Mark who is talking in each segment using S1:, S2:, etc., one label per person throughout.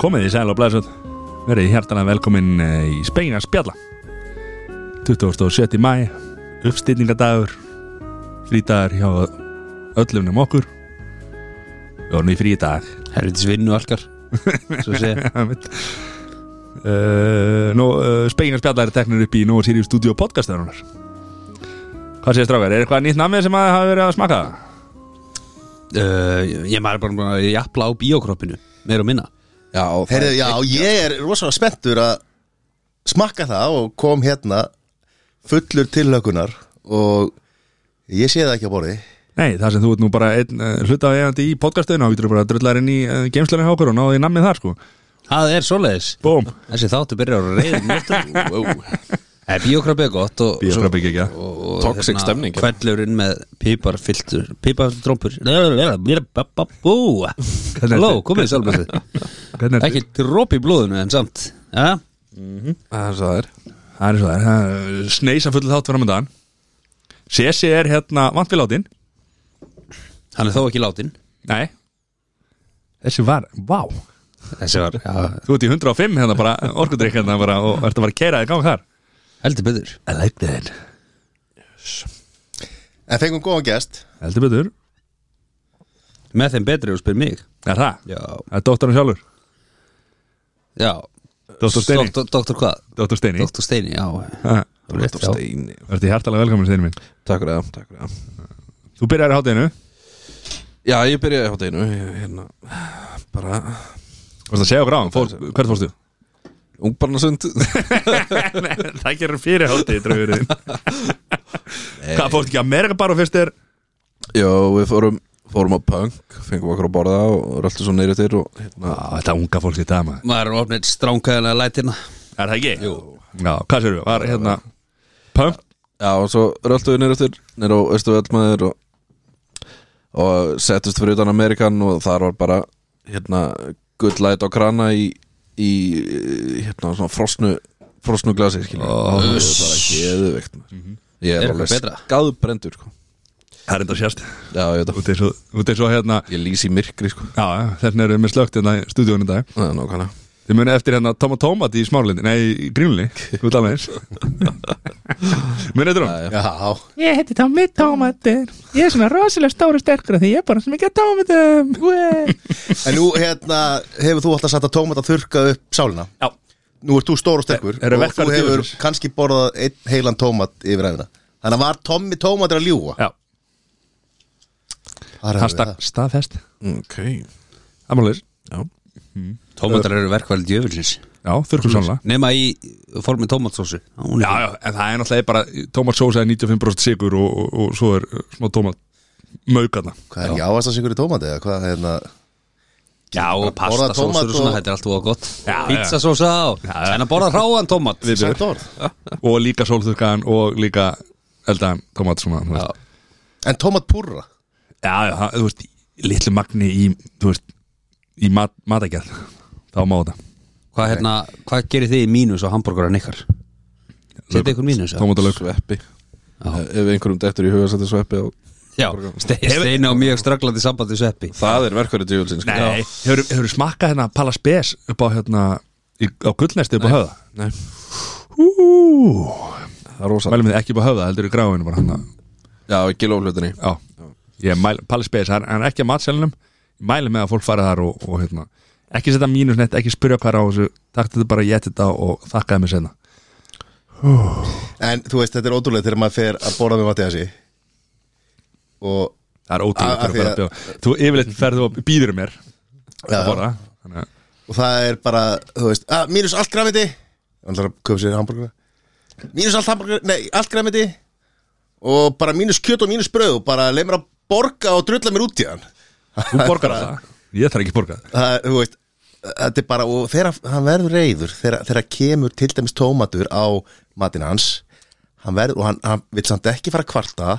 S1: Komið í sæl og blæsut Verið hjartalega velkomin eh, í Speina spjalla 27. mæ Uppstilningadagur Frídagar hjá öllum um okkur Við vorum í frídag
S2: Helvitis vinnu algar Svo sé
S1: uh, Nú, uh, Speina spjalla er teknir upp í Nú Sirius Studio podcastarunar Hvað séð strákar, er eitthvað nýtt namið sem að hafa verið að smaka?
S2: uh, Ég maður er bara búin að jafla á bíókroppinu Meir og minna
S3: Já, Heyrðu, já ég er rosalega spenntur að smakka það og kom hérna fullur tilökunar og ég sé það ekki á borði
S1: Nei, það sem þú ert nú bara einn uh, hluta eigandi í podcastöðinu og þú ert bara að drullar inn í uh, geimslarni hjá okkur og náðu í namið þar sko
S2: Það er svoleiðis
S1: Búm
S2: Þessi þáttu byrjar að reyða mjög Það er bíókroppi Eh, er gott og,
S1: Bíókrabbi ekki ekki
S2: og, og
S4: Toxic stemning.
S2: Hverlurinn með píparfiltur Pípardrómpur Halló, komið sjálfum þessi
S1: Hvernig er
S2: Ekki dróp í blóðinu en samt ja?
S4: Það er svo það er
S1: Það er svo það er, það er Sneisa full þátt fram að dagann Sessi er hérna vant við látin
S2: Hann er þó ekki látin
S1: Nei Þessi var, vá
S2: Þessi var já,
S1: Þú ert í 105 hérna bara, orkudrykk hérna bara og ert að bara keira þig gang þar
S2: heldur betur
S1: I like that
S3: En fengum góðan gest
S1: Heldur betur
S2: Með þeim betri og spyr mig
S1: Er það?
S2: Já,
S1: Það er dóttarinn sjálfur
S2: já
S1: Dóttar Steini
S2: Doktor, doktor hvað?
S1: Dóttar Steini
S2: Doktor Steini, já
S1: Ha,
S4: Dr. Steini
S1: Ertu hjartalega velkomin Steini minn
S4: Takk fyrir það, takk fyrir það
S1: Þú byrjar í hátinu
S4: Já, ég byrjaði á deginu Hérna, bara
S1: Varst að segja okkur á hann Fór, Hvert fórstu?
S4: Ungbarnasund
S1: það gerir fyrir hátinu Dröfurinn Hvað fórst ekki að merga bara fyrst er
S4: Já, við fórum Fórum á punk Fengum okkur að borða Og röltu svo neyri til Og hérna
S1: Þetta unga fólk í dag maður
S2: Maður er ofnir strángkæðanlega lætina
S1: Er það ekki? Jú Já, hvað sér við? Var hérna Pump?
S4: Já, og svo röltu við neyri til Neyri á Östu Vellmaður Og, og settust fyrir utan Amerikan Og þar var bara Hérna Gullæt og krana í Í Hérna svona frosnu Frosnu glasi skilja oh, Það var ekki eðuveikt Ég
S2: Mhm. Er
S4: er
S2: eitthvað
S4: alveg
S2: betra?
S4: skadbrendur sko.
S1: Það er enda sérst
S4: Já, ég veit að
S1: Út eins og, út eins og hérna
S4: Ég lýs í myrkri sko
S1: Já, já, þarna eru við með slögt hérna í stúdíónu í dag
S4: Það er nákvæmlega
S1: Þið munið eftir hérna Tom og Tomat í Smárlindi Nei, í Grínlindi Þú tala eins Munið eftir hún?
S3: Já,
S5: Ég heiti Tommy Tómatur Ég er svona rosalega stóru sterkur af Því ég er bara sem ekki að tómatum Ué.
S3: en nú hérna hefur þú alltaf satt að tómat að þurrka upp sálina
S1: Já
S3: Nú ert þú stór og sterkur
S1: Er- eru
S3: og þú
S1: verkfæri
S3: hefur
S1: djöfulsins?
S3: kannski borðað einn heilan tómat yfir æfina Þannig að var Tommy tómatur að ljúga
S1: Já,
S3: Þar hefur við
S1: hashtag
S3: það.
S1: staðfest
S4: Ok
S1: Amális
S4: Já
S2: Tómatar eru verkvæli djöfulsins
S1: Já, þurrkum sannlega
S2: Nema í formi tómatsósu Hún
S1: Já, já,
S2: er-
S1: en það er náttúrulega bara Tomatsósa er 95% sigur og, og, og svo er uh, smá tomat Maukarna
S3: Hvað er ekki áast að sigur í tómati eða hvað hérna
S2: já og
S3: Borða tómat
S2: pastasósur og svona
S3: og-
S2: Þetta er allt voða gott
S1: Já, já.
S2: Pizzasósa og
S1: já.
S2: En að borða hráan tómat
S3: Sætt orð
S1: og líka sólþurkaðan og líka eldaðan tomat svona, þú
S2: Já,
S1: veist
S3: En tómat púrra
S1: Já, já, það- þú veist, í litlu magni í, þú veist, í mat, matagjall þá má þetta
S2: Hvað hérna, hvað gerir þið í mínus og hambúrgaran ykkar? Setið ykkur mínus? já?
S1: Tomatalauk
S4: Sveppi Eh, Ef einhverjum dettur í huga setja sveppi á
S2: Já, Ste- steina og mjög straglandi sambandi sveppi
S4: Það er sko. verkværi djúvölsins
S1: Nei, hefur, hefur smakkað hérna Pala Spes upp á hérna í, á gullnesti upp á höfða
S4: Nei
S1: Ú,
S4: Það er rosa
S1: mælum við ekki upp á höfða, heldur í gráinu bara hann
S4: Já, ekki loflutinni
S1: Já, ég mæl, Palli Spes hann hann er ekki að matselunum, ég mæli með að fólk fara þar og, og hérna, ekki setja mínusnett ekki spyrja hvað er á þessu, takk þetta bara ég geti þetta og þakkaði mig senna
S3: En þú veist, þetta er ótrúlega þegar maður fer að borða með Mattiasi og
S1: það er ótrúlega
S3: Af-
S1: að
S3: af
S1: fara að
S3: því að-
S1: bjóða þú yfirleitt ferðu og býður mér
S3: Já,
S1: að
S3: já.
S1: borða þannig að-
S3: og það er bara, þú veist, að, mínus allt græmiti hann þarf að köpa sér hambúrgara mínus allt hambúrgara, nei, allt græmiti og bara mínus kjöt og mínus bröð og bara leið mér að borga og drulla mér út í hann
S1: þú borgar það, ég þarf ekki að borga það
S3: það, er, þú veist, þetta er bara og þegar hann verður reyður, þegar, þegar kemur til dæmis tómatur á matinn hans hann verður, og hann, hann vil samt ekki fara að kvarta,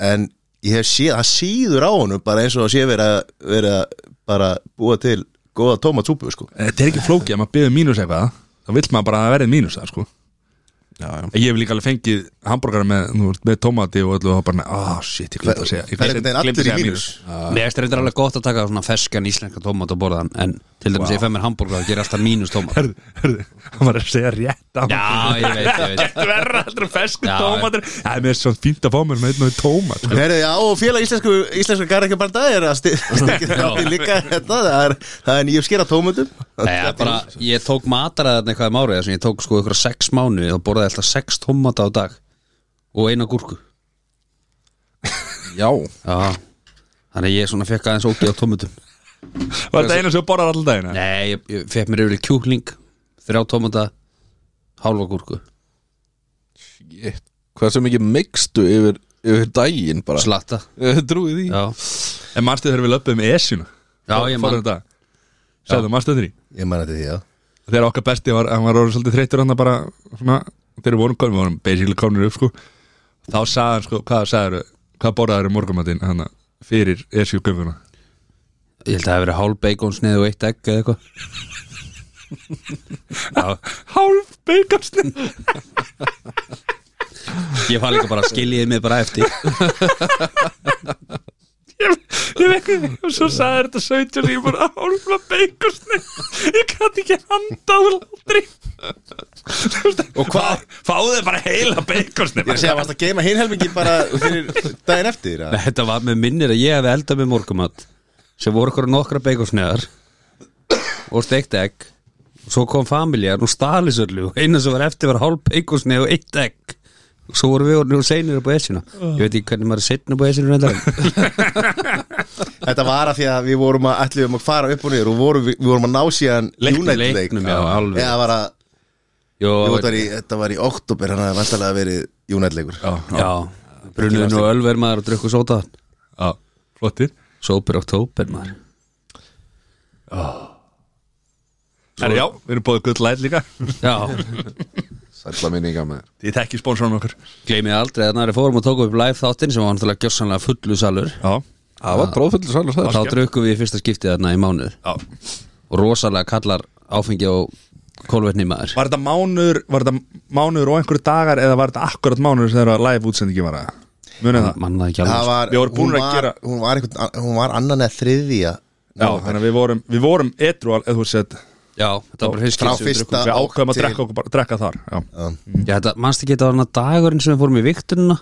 S3: en ég hef séð, hann síður á honum bara eins og það sé verið að, verið að bara búa til góða tómatsúpu, sko
S1: Eh, þetta er ekki flókið að maður býður mínus eitthvað þá vill maður bara að það verði mínus það sko
S4: já, já.
S1: Ég hef líka alveg fengið hambúrgara með, nú veist, með tomati og öllu og það bara, ah shit, ég glemt að segja Ég
S3: Það er
S1: gleymdi-
S3: einhvern
S1: gleymdi að
S3: veginn allir í
S1: segja
S3: mínus
S2: Mér finnst þetta alveg gott að taka svona ferskan íslenska tómat á borðan En til dæmis ég fæ mér hambúrgar og gera alltaf mínus tómat
S1: Hörðu, hörðu, hann var að segja rétt af
S2: Já, ég veit, ég veit
S1: Þetta verður aldrei fesku
S2: Já,
S1: tómatur Það er mér er svo fínt að fá mér með einn og einn tómat sko.
S3: Herðu, já, og félag íslensku, íslensku garðekjabarda er að stekja þátti líka þetta, það er, það er nýjum skera tómutum
S2: Nei, ja, bara, ég tók mataraðarni eitthvað um árið þar sem ég tók sko ykkur sex mánuði þá borðaði ég alltaf sex tómata á dag og eina gúrku
S4: já.
S2: Já, þannig að ég svona fekk aðeins ógið á tómatum
S1: Var þetta einu sem þú borðar alltaf dagina?
S2: Nei, ég, ég fekk mér yfirlega kjúkling þrjá tómata, hálfa gúrku
S4: Shit. Hvað sem ekki mikstu yfir, yfir daginn bara
S2: slatta
S4: Ég Trúi því
S2: Já,
S1: En manstu þegar við löpum með esjuna
S2: Já, ég man.
S1: man Sæðu, manstu þegar því?
S3: Ég man þetta því, já
S1: Þegar okkar besti var, hann var orðin svolítið þreyttur hann bara, svona, þegar við vorum komin, við vorum basically komin upp, sko Þá sagði hann, sko, hvað sagði hvað borðaður morgumatinn, hann fyrir esjugöfuna
S2: ég held að það hafi verið hálf beikonsnið og eitt egg eða eitthvað
S1: Hálf beikastinn
S2: Ég fann líka bara að skiljiði mig bara eftir
S1: ég veit ekki, og svo sagði þetta 17 og ég bara álfa beikursni ég gæti ekki handað aldrei og hvað? fáðu þið bara heila beikursni
S3: Ég er að segja, varst að geima hinn helmingi bara fyrir daginn eftir að-
S2: Þetta var með minnir að ég hefði eldað með morgumat sem voru okkur nokkra beikonsneðar og steikt egg og svo kom familjar og stalisörlu og eina sem var eftir var hálf beikonsneð og eitt egg og svo voru við orðinu og seinir upp á esjuna ég veit ekki hvernig maður er seinir upp á esjuna reyndar.
S3: Þetta var að því að við vorum að ætlum að fara upp og niður og vorum, við vorum að ná síðan
S2: Leiknum,
S3: United-leik
S2: leiknum, já, alveg.
S3: Eða var að,
S2: Jó,
S3: jú, þetta, var í, þetta var í oktober, hann hafði vantalega verið United-leikur
S2: já, brunnum og ölver maður og drukku sóta
S1: já, flottir
S2: sópur oktober maður
S1: Herra, já, við erum bóðið gull læt líka
S2: já,
S4: Sætla minninga með þér
S1: ég tekki spónsorinn okkur
S2: gleymið aldrei að næri fórum og tókum upp live þáttinn sem var náttúrulega gjössanlega fullu salur
S1: já,
S4: Það var bróðfullur sælur
S2: og
S4: það
S2: þá drukkum við í fyrsta skiptið þarna í mánuð
S1: já
S2: og rosalega kallar áfengi og kólvetni maður
S1: var þetta mánur, var þetta mánur og einhverju dagar eða var þetta akkurat mánur þegar að live útsendingi var að munið það
S2: manna ekki
S3: Það
S2: alveg
S3: var,
S1: Við vorum
S3: hún,
S1: búnir að
S3: var,
S1: gera-
S3: hún, var einhvern, hún var annan eða þriðja
S1: já, þannig að við vorum, við vorum etru eða þú veist að
S2: já, þetta var bara fyrst
S3: frá
S2: skipti sem við
S3: fyrsta
S1: við ákveðum að
S3: til-
S1: drekka, okkur, bara, drekka þar já.
S2: drukkum. já, þetta, manstu ekki þetta var hann dagurinn sem við fórum í viktununa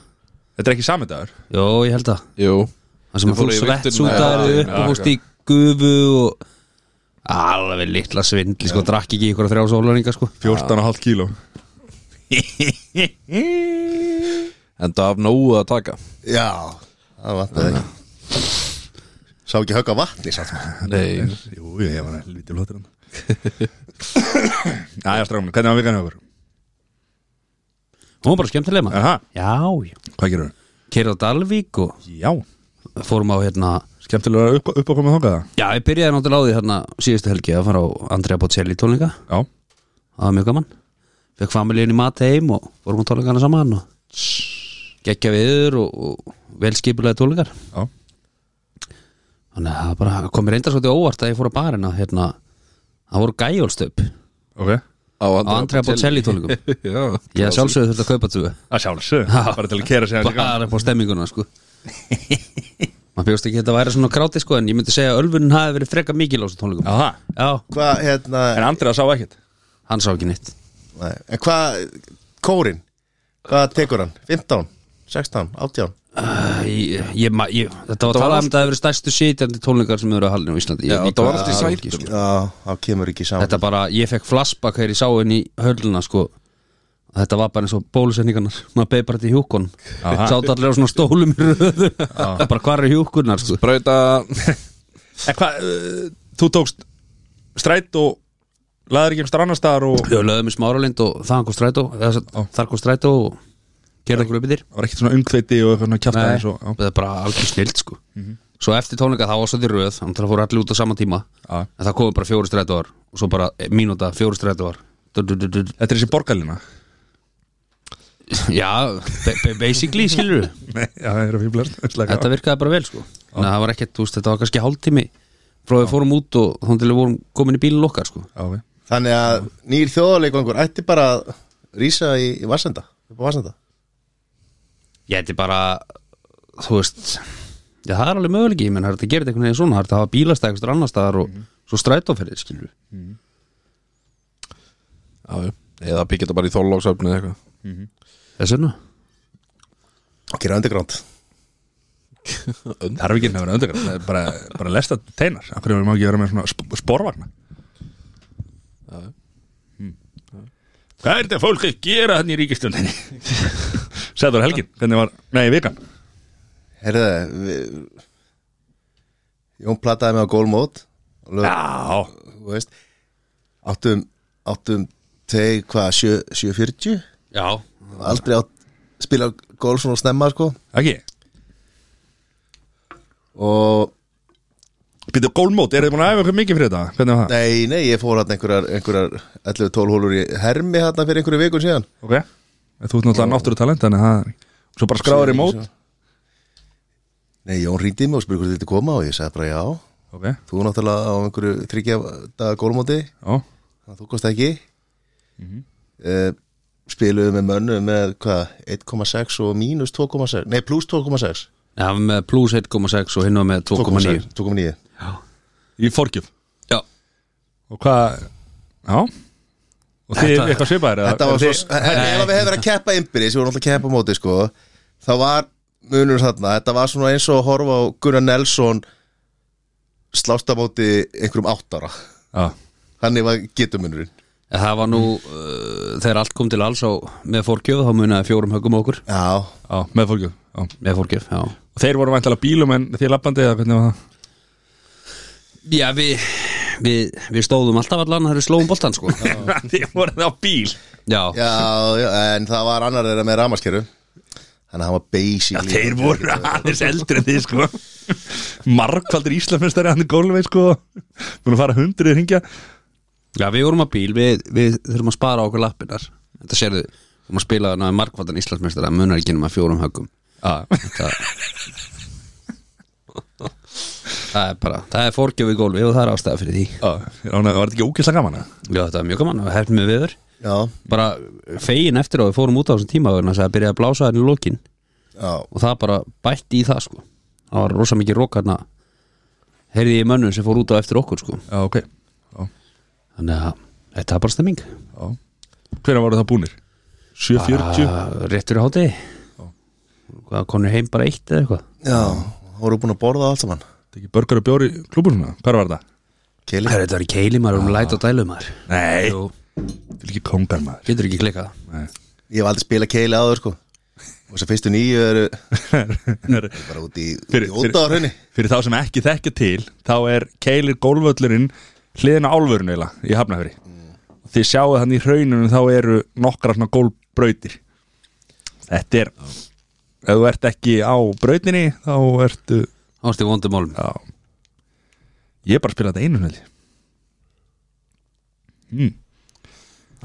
S1: þetta er ekki sami dagur
S2: jó, ég held að
S4: Jú
S2: það sem að
S4: Þið
S2: þú
S4: fóruð í
S2: svett
S4: vigtunina,
S2: sútaðir
S4: já,
S2: upp og
S4: já,
S2: fórst í gufu og alveg litla svindli sko, drakk ekki ykkur að þrjá sólaringa sko
S1: 14,5 kíló
S4: En það af nógu að taka
S3: Já, það vantaði ekki Sá ekki högg á vatni satt
S4: Nei
S1: Jú, jú, ég var lítið flottur hann Jæja, strákunum, hvernig var vikan hjá okkur?
S2: hún var bara skemmtileg maður
S1: Aha,
S2: já, já
S1: hvað gerur við?
S2: kerið á Dalvík og
S1: Já,
S2: fórum á hérna
S1: skemmtilega upp, upp að koma þangað það?
S2: já, ég byrjaði náttúrulega á því hérna síðustu helgi að fara á Andrea Bocelli tónleika
S1: Já,
S2: það var mjög gaman fekk familíin í mat heim og vorum á tónleikana saman og gekkja viður og, og velskipulega tónleikar
S1: já,
S2: þannig að það bara kom mér reyndar svolítið óvart að ég fór að barina hérna, það voru gæjólstöp
S1: ok
S4: Á
S2: á Andrea Bocelli tónleikum
S4: Já
S2: ég sjálfsögðu þurfti að kaupa tvö
S1: Að sjálfsög, bara til að kera sig hans
S2: bara upp á stemminguna sko maður bjóst ekki að þetta væri svona gráti sko en ég myndi segja að ölfunin hafi verið freka mikil á þessu tónleikum
S1: Aha,
S2: já,
S3: Hvað, hérna,
S1: en Andrið sá ekkert
S2: hann sá ekki neitt
S3: nei, en hvað, kórin, hvað tekur hann? 15, 16, 18
S2: ég, ég, ma- ég, þetta var
S4: var
S2: talað um
S4: allt-
S2: þetta að það verið stærstu sitjandi tónleikar sem eru að halinu á Íslandi
S4: Já,
S2: Ég-
S4: þetta var allt í
S2: Það ekki,
S4: sætum.
S2: sko.
S3: Já, þá kemur ekki saman
S2: þetta bara, ég fekk flashback þegar ég sá henni í hölluna sko Þetta var bara eins og bólusendingarnar maður beði bara til hjúkon sátt allir á svona stólum í röðu bara hvar er hjúkunnar sko
S4: Brauta
S1: En hvað, uh, þú tókst stræt og laður ekki einhver annar staðar og
S2: Við lögðum í smáralind og þaðan kom strætó eða sem- þar kom strætó og gerði okkur uppið þér
S1: var ekkert svona ungþveiti og eitthvað svona kjafta eins og já,
S2: það er bara alveg snilt sko Svo eftir tónleika þá var svo því röð þannig að fóru allir út á sama tíma
S1: Já.
S2: en það komið bara fjóri strætóar og svo bara eh, mínúta fjóri strætóar Du- du- du- du- du-
S1: Þetta er þessi borgarlína
S2: Já, ba- ba- basically skilur
S1: Nei, já, það er að fýblast
S2: þetta virkaði bara vel sko Þannig að það var ekkert, þú veist, þetta var kannski hálftími frá við fórum út og þannig til við vorum komin í bílinn okkar sko
S1: Já, við
S3: Þannig að nýr þjóðarleikvangur ætti bara að rísa í, í Vassenda upp á Vassenda
S2: Ég ætti bara, þú veist Já, það er alveg möguleiki, ég menn, það er hægt að gera þetta einhvern veginn svona, það er hægt að hafa bílastækustur annar staðar og svo strætóferðið, skilur
S4: já, já. eða byggja þetta bara í þóllóksöfni eða eitthvað
S2: Þess vegna
S3: gera underground
S1: Það er ekki að vera undir bara, bara lesta teinar Af hverju má ekki vera með svona sp sporvagna Hmm. Hvað er þetta fólk að gera þannig í ríkistjóndinni? Sæður Helgin, hvernig var Nei, vikan
S3: Herðu, við, Jón plataði mig á gólmót og lög,
S1: Já,
S3: þú veist áttum, áttum teg hvað, sjö- 7.40
S2: Já,
S3: aldrei átt spila golf svona snemma sko
S1: ekki
S3: og
S1: Býttu gólmót, eru þið búin að æfa eitthvað mikið fyrir þetta? Hvernig var það?
S3: nei, nei, ég fór hann einhverjar, einhverjar 11-12 hólur í hermi hann fyrir einhverju vikun síðan
S1: Ok, En þú ert náttúrulega náttúru talent Þannig að það er Svo bara skráður í mót
S3: Nei, Jón ringdi í mig og spurði hvort þetta koma og ég sagði bara já
S1: Ok,
S3: Þú náttúrulega á einhverju tryggja daga gólmóti
S1: já
S3: þannig að þú kosti ekki mm spiluðu með mönnu með hvað, 1,6 og mínus 2,6 nei, pluss 2,6
S2: það var með plus 1,6 og hinn var með 2,9
S3: 2,6, 2,9
S1: Í forgjöf
S2: Já,
S1: Og hvað Já Og þið
S2: Þetta-
S1: eitthvað svipaðir eða-
S3: Þetta var svo,
S1: þið-
S3: en ef við hefur verið að keppa ymbirið sem voru alltaf að keppa á móti sko þá var munur þarna, þetta var svona eins og að horfa á Gunnar Nelson slást á móti einhverjum áttara
S1: Já
S3: hann var getumunurinn
S2: En það var nú, uh, þegar allt kom til alls á, með fórgjöf, þá munaði fjórum högum á okkur
S3: Já,
S1: Já, með fólkið já.
S2: með fórgjöf, já
S1: Og þeir voru vantilega bílum en þið lappandi eða hvernig var það?
S2: Já, við, við, við stóðum alltaf allan þegar við slóum boltan, sko Já,
S1: þið voru það á bíl
S2: já,
S3: já, já en það var annar þeirra með ramaskeru þannig að hann var
S1: Já,
S3: basically
S1: þeir voru aðeins eldri en þið sko Markvaldur Íslamestari hann er gólvei sko Búin að fara hundrið hringja
S2: við vorum að bíl, við, við þurfum að spara okkur lappinar Þetta sérðu, við vorum að spila þarna við markvaldan Íslandsmeistar að munar ekki nema fjórum högum
S1: Já,
S2: það, það er bara, það er fórgjöf í gólfi og það er ástæða fyrir því
S1: já rána, Var þetta ekki ókislega gaman? eða?
S2: Já, þetta var mjög gaman, það hefði með viður
S3: Já,
S2: Bara fegin eftir að við fórum út á þessum tíma vegna þess að það byrjaði að blása þarna í lokin
S3: já,
S2: og það bara bætti í það sko það var rosa mikið rókarna heyrði ég mönnum sem fór út á eftir okkur sko
S1: Já, ok Já,
S2: þannig að þetta er bara stemming
S1: já Ah. Hvernig voru það búnir? 7.40
S2: Bara rétt fyrir háti hvað konur heim bara eitt eða eitthvað
S3: já voru búin að borða allt saman
S1: Þetta ekki börgar og bjóri í klúbunum Hvað var það?
S3: Keili
S2: Herra, þetta var í keili maður um læt og dælu maður
S1: Nei,
S2: Jú,
S1: þetta er ekki kongar maður
S2: getur ekki klikkað
S1: Nei.
S3: Ég hef aldrei spilað keili áður sko og þess að fyrstu nýju eru bara út í, út í
S1: Fyrir- fyrir-
S3: óta á raunni
S1: Fyrir þá sem ekki þekkja til Þá er keilir gólvöllurinn Hliðina álfurinn eila í hafnafyrir Þið sjáu þannig í hraununum Þá eru nokkra svona gólbrautir Þetta er Ef þú ert ekki á brautinni Þá ertu
S2: þá erstu í vondumálum
S1: já. Ég er bara að spila þetta einu held ég. Hmm.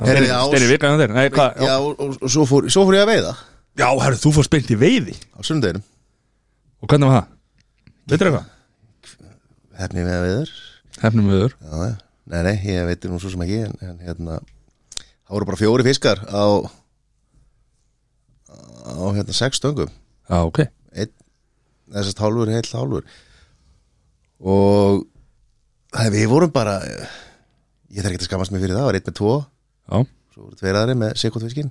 S3: Herri, já,
S1: Steini vikaði hann þér Nei, hvað?
S3: já, og, og, og svo, fór, svo fór ég að veiða á
S1: Já, herru, þú fórst beint í veiði
S3: sunnudeginum
S1: Og hvernig var það? Veitir eitthvað?
S3: hefni með að veiður
S1: Hefnum viður
S3: já, já. Nei, nei, ég veitir nú svo sem ekki en, en hérna það voru bara fjóri fiskar á á hérna sex stöngum
S1: Já, ok
S3: einn, þessast hálfur, heill hálfur og það, við vorum bara ég þarf ekki að skammast mig fyrir það, var einn með tvo
S1: Já
S3: svo voru tveir aðri með sikkot fiskin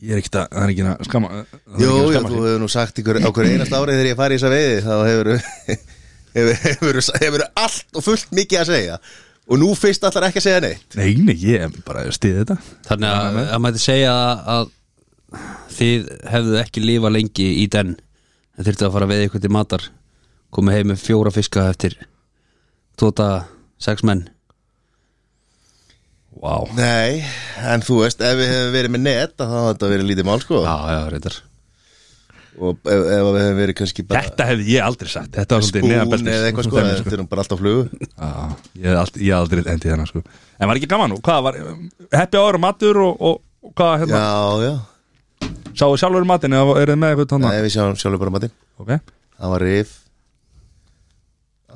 S1: Ég er ekkert að, það er ekki að skama það er
S3: Jú,
S1: ekki að
S3: já,
S1: skama
S3: þú
S1: sig.
S3: hefur nú sagt ykkur á hverju einast árið þegar ég fari í þessa veiði þá hefur hefur, hefur, hefur allt og fullt mikið að segja og nú fyrst allar ekki að segja neitt
S1: Nei, nei, ég er bara að stiði þetta
S2: þannig að, að maður segja að þið hefðu ekki lifa lengi í den en þyrftu að fara við eitthvað til matar komið heim með fjóra fiska eftir tóta sex menn
S1: Vá
S3: Nei, en þú veist, ef við hefum verið með net að þá hafði þetta verið lítið mál sko
S2: já, já, reyndar
S3: og ef, ef við hefum verið kannski bara
S1: Þetta hefði ég aldrei sagt Þetta var svolítið
S3: bún
S1: neðan beltis
S3: eða eitthvað sko,
S1: Svona
S3: þetta er nú bara allt á flugu
S1: Já, ég hef aldrei, aldrei endið þennan sko En var ekki gaman nú, hvað var Heppi ára matur og, og, og hvað hérna
S3: Já, já,
S1: Sáðu sjálfur matinn eða eru þið með eitthvað tóna
S3: Nei, við sjáum sjálfur bara matinn
S1: Ok,
S3: Það var rif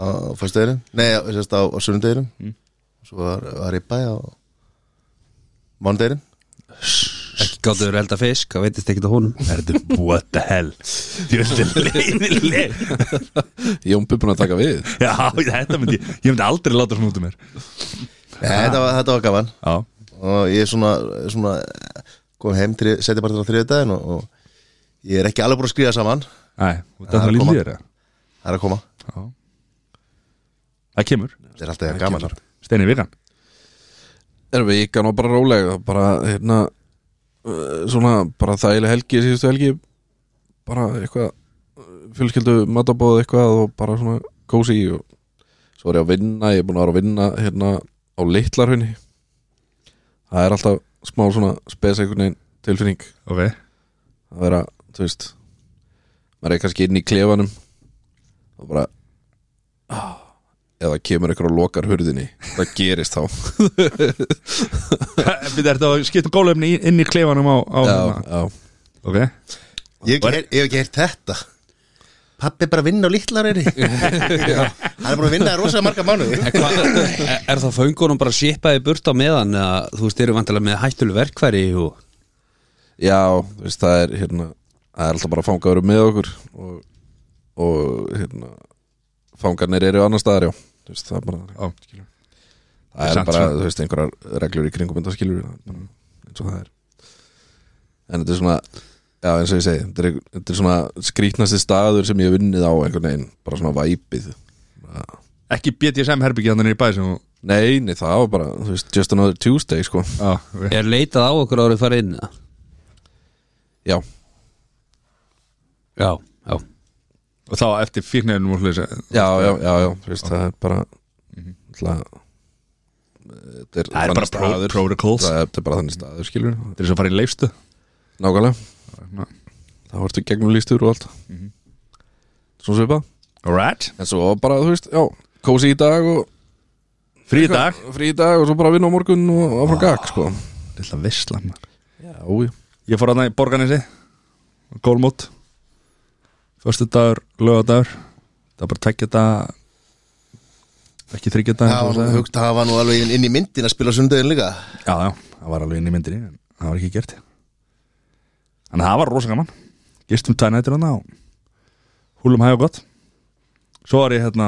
S3: á fyrstuðurum, nei, á, sérst á, á sunnudegurum svo var, var ripaði á mánudegurum
S2: Gáttu verið elda fisk, það veitist ekkert á honum
S1: Erðu, what the hell Þjóðlega leiðileg
S4: Jómpi búin að taka við
S1: Já, þetta myndi ég Ég myndi aldrei láta svona út um mér
S3: þetta, var, þetta var gaman
S1: Já,
S3: og ég er svona, svona kom heim, seti bara til á þriðudaginn og, og ég er ekki alveg búin að skrifa saman
S1: næ, út
S3: Það
S1: af
S3: er
S1: það
S3: að koma.
S1: lillið er það
S3: það er að koma,
S1: Já. Það kemur
S3: þetta er alltaf gaman sko.
S1: Steini Vigan
S4: Erum við ykkan og bara rólega bara hérna uh, svona bara þægileg helgi síðustu helgi bara eitthvað eh, fjölskyldu matabóð eitthvað og bara svona kósi og svo er ég að vinna ég er búin að vera að vinna hérna á litlarhunni það er alltaf smá svona spes einhvern veginn tilfinning
S1: Ok
S4: að vera, þú veist maður er kannski inn í klefanum og bara ah, eða kemur einhver og lokar hurðinni það gerist þá
S1: Við erum að skipta gólefni í- inn í klefanum á, á
S4: já,
S1: hérna.
S4: já.
S1: Ok
S3: ég hef ekki heyrt- ég hef ekki heyrt þetta pappi er bara að vinna á litlareyri hann er búin að vinna í rosalega marga mánuði
S2: En hvað, er- er það föngunum bara svipaði burt á meðan eða þú veist, eru vantilega með hættuleg verkfæri og
S4: já, þú veist, það er hérna það er alltaf bara fangaður með okkur og, og hérna fangarnir eru annar staðar, já þú veist, það er bara,
S1: Já, skilur.
S4: það er
S1: Samt
S4: bara
S1: svona.
S4: þú veist, einhverjar reglur í kringum en það skilur það er bara eins og það er en þetta er svona já, eins og ég segi, þetta er, þetta er svona skrýtnasti staður sem ég hef unnið á einhvern veginn, bara svona væpið
S1: Ekki BDSM herbyggi hann í bæ sem þú
S4: Nei, nei, það var bara, þú veist, just another Tuesday, sko
S1: Já, ok
S2: er leitað á okkur árið farið inn eða?
S4: Já,
S2: Já, já
S1: Og þá eftir fíknæðinum og hlusa
S4: já, já, já, já, þú veist, það er bara Það Þetta er,
S1: Mhm. Það er bara
S4: þannig
S1: pro
S4: staður.
S1: protocols
S4: Það er- þetta er bara þannig staður, skilur við.
S1: Þetta er svo að fara í Hérna. leifstu
S4: Nákvæmlega, þá ertu gegnum lístur og allt Svo svipað
S1: Alright
S4: En svo bara, þú veist, já, kósi í dag og
S1: Frí dag
S4: frí í dag og svo bara vinna á morgun og áfram gag, sko
S1: Lilla veistla maður
S4: Já, já,
S1: Ég fór aðna í Borganesi Gólmót Föstu dagur, lögadagur Það var bara tveggja dag Ekki þryggja dag
S3: það var nú hugt- það var nú alveg inn í myndin að spila sundöðin líka
S1: Já, já, það var alveg inn í myndinni En það var ekki gert Þannig að það var rosa gaman Gistum tvær nættir hann á Húlum hæg og gott Svo var ég hérna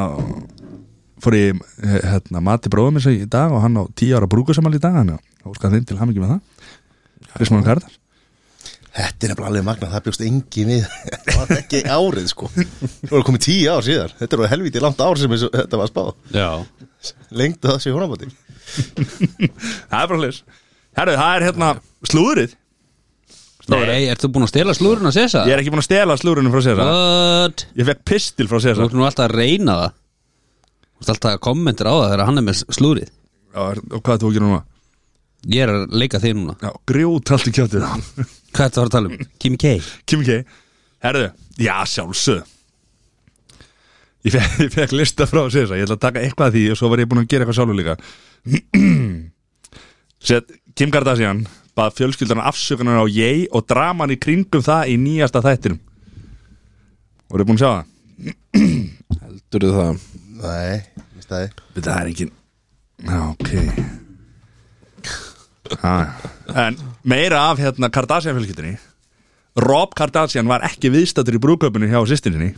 S1: Fór ég eh, hérna mati bróðum eins og í dag Og hann á tíu ára brúkusamal í dag Þannig að óskar þeim til hamingi með það Krismán Kardar
S3: Þetta er nefnilega alveg magna, það bjóst engin við Það var ekki árið sko Nú er komið tíu ár síðar, þetta er helviti langt ár sem þessu- þetta var spáð
S2: Já,
S3: Lengdu það sér húnabóti
S1: Það er bara hlis Herru, það er hérna slúðrið
S2: Nei, ert þú búin að stela slúrun að sessa?
S1: Ég er ekki búin að stela slúðrinu frá César
S2: What?
S1: Ég fekk pistil frá
S2: Þú
S1: César
S2: ert nú alltaf að reyna það Þú ert alltaf að kommentir á það þegar hann er með slúrið
S1: Já, Og hvað þú ekki núna?
S2: Ég er að leika þig núna
S1: Já, grjót allt í kjötið það
S2: Hvað ertu að fara að tala um? Kimi K
S1: Kim K Herðu, já sjálfsög Ég fekk, ég fekk lista frá César Ég ætla að taka eitthvað af því og svo var ég búin að gera eitthvað sjálfur líka Sett, Kim Kardashian bað fjölskyldana afsökunar á ég og draman í kringum það í nýjasta þættinum Voruð búin að sjá það?
S4: heldur það
S3: Nei, minnst það er
S1: Við það er engin Já, ok ha. En meira af hérna Kardashian fjölskyldinni Rob Kardashian var ekki viðstættur í brúköpunni hjá sýstininni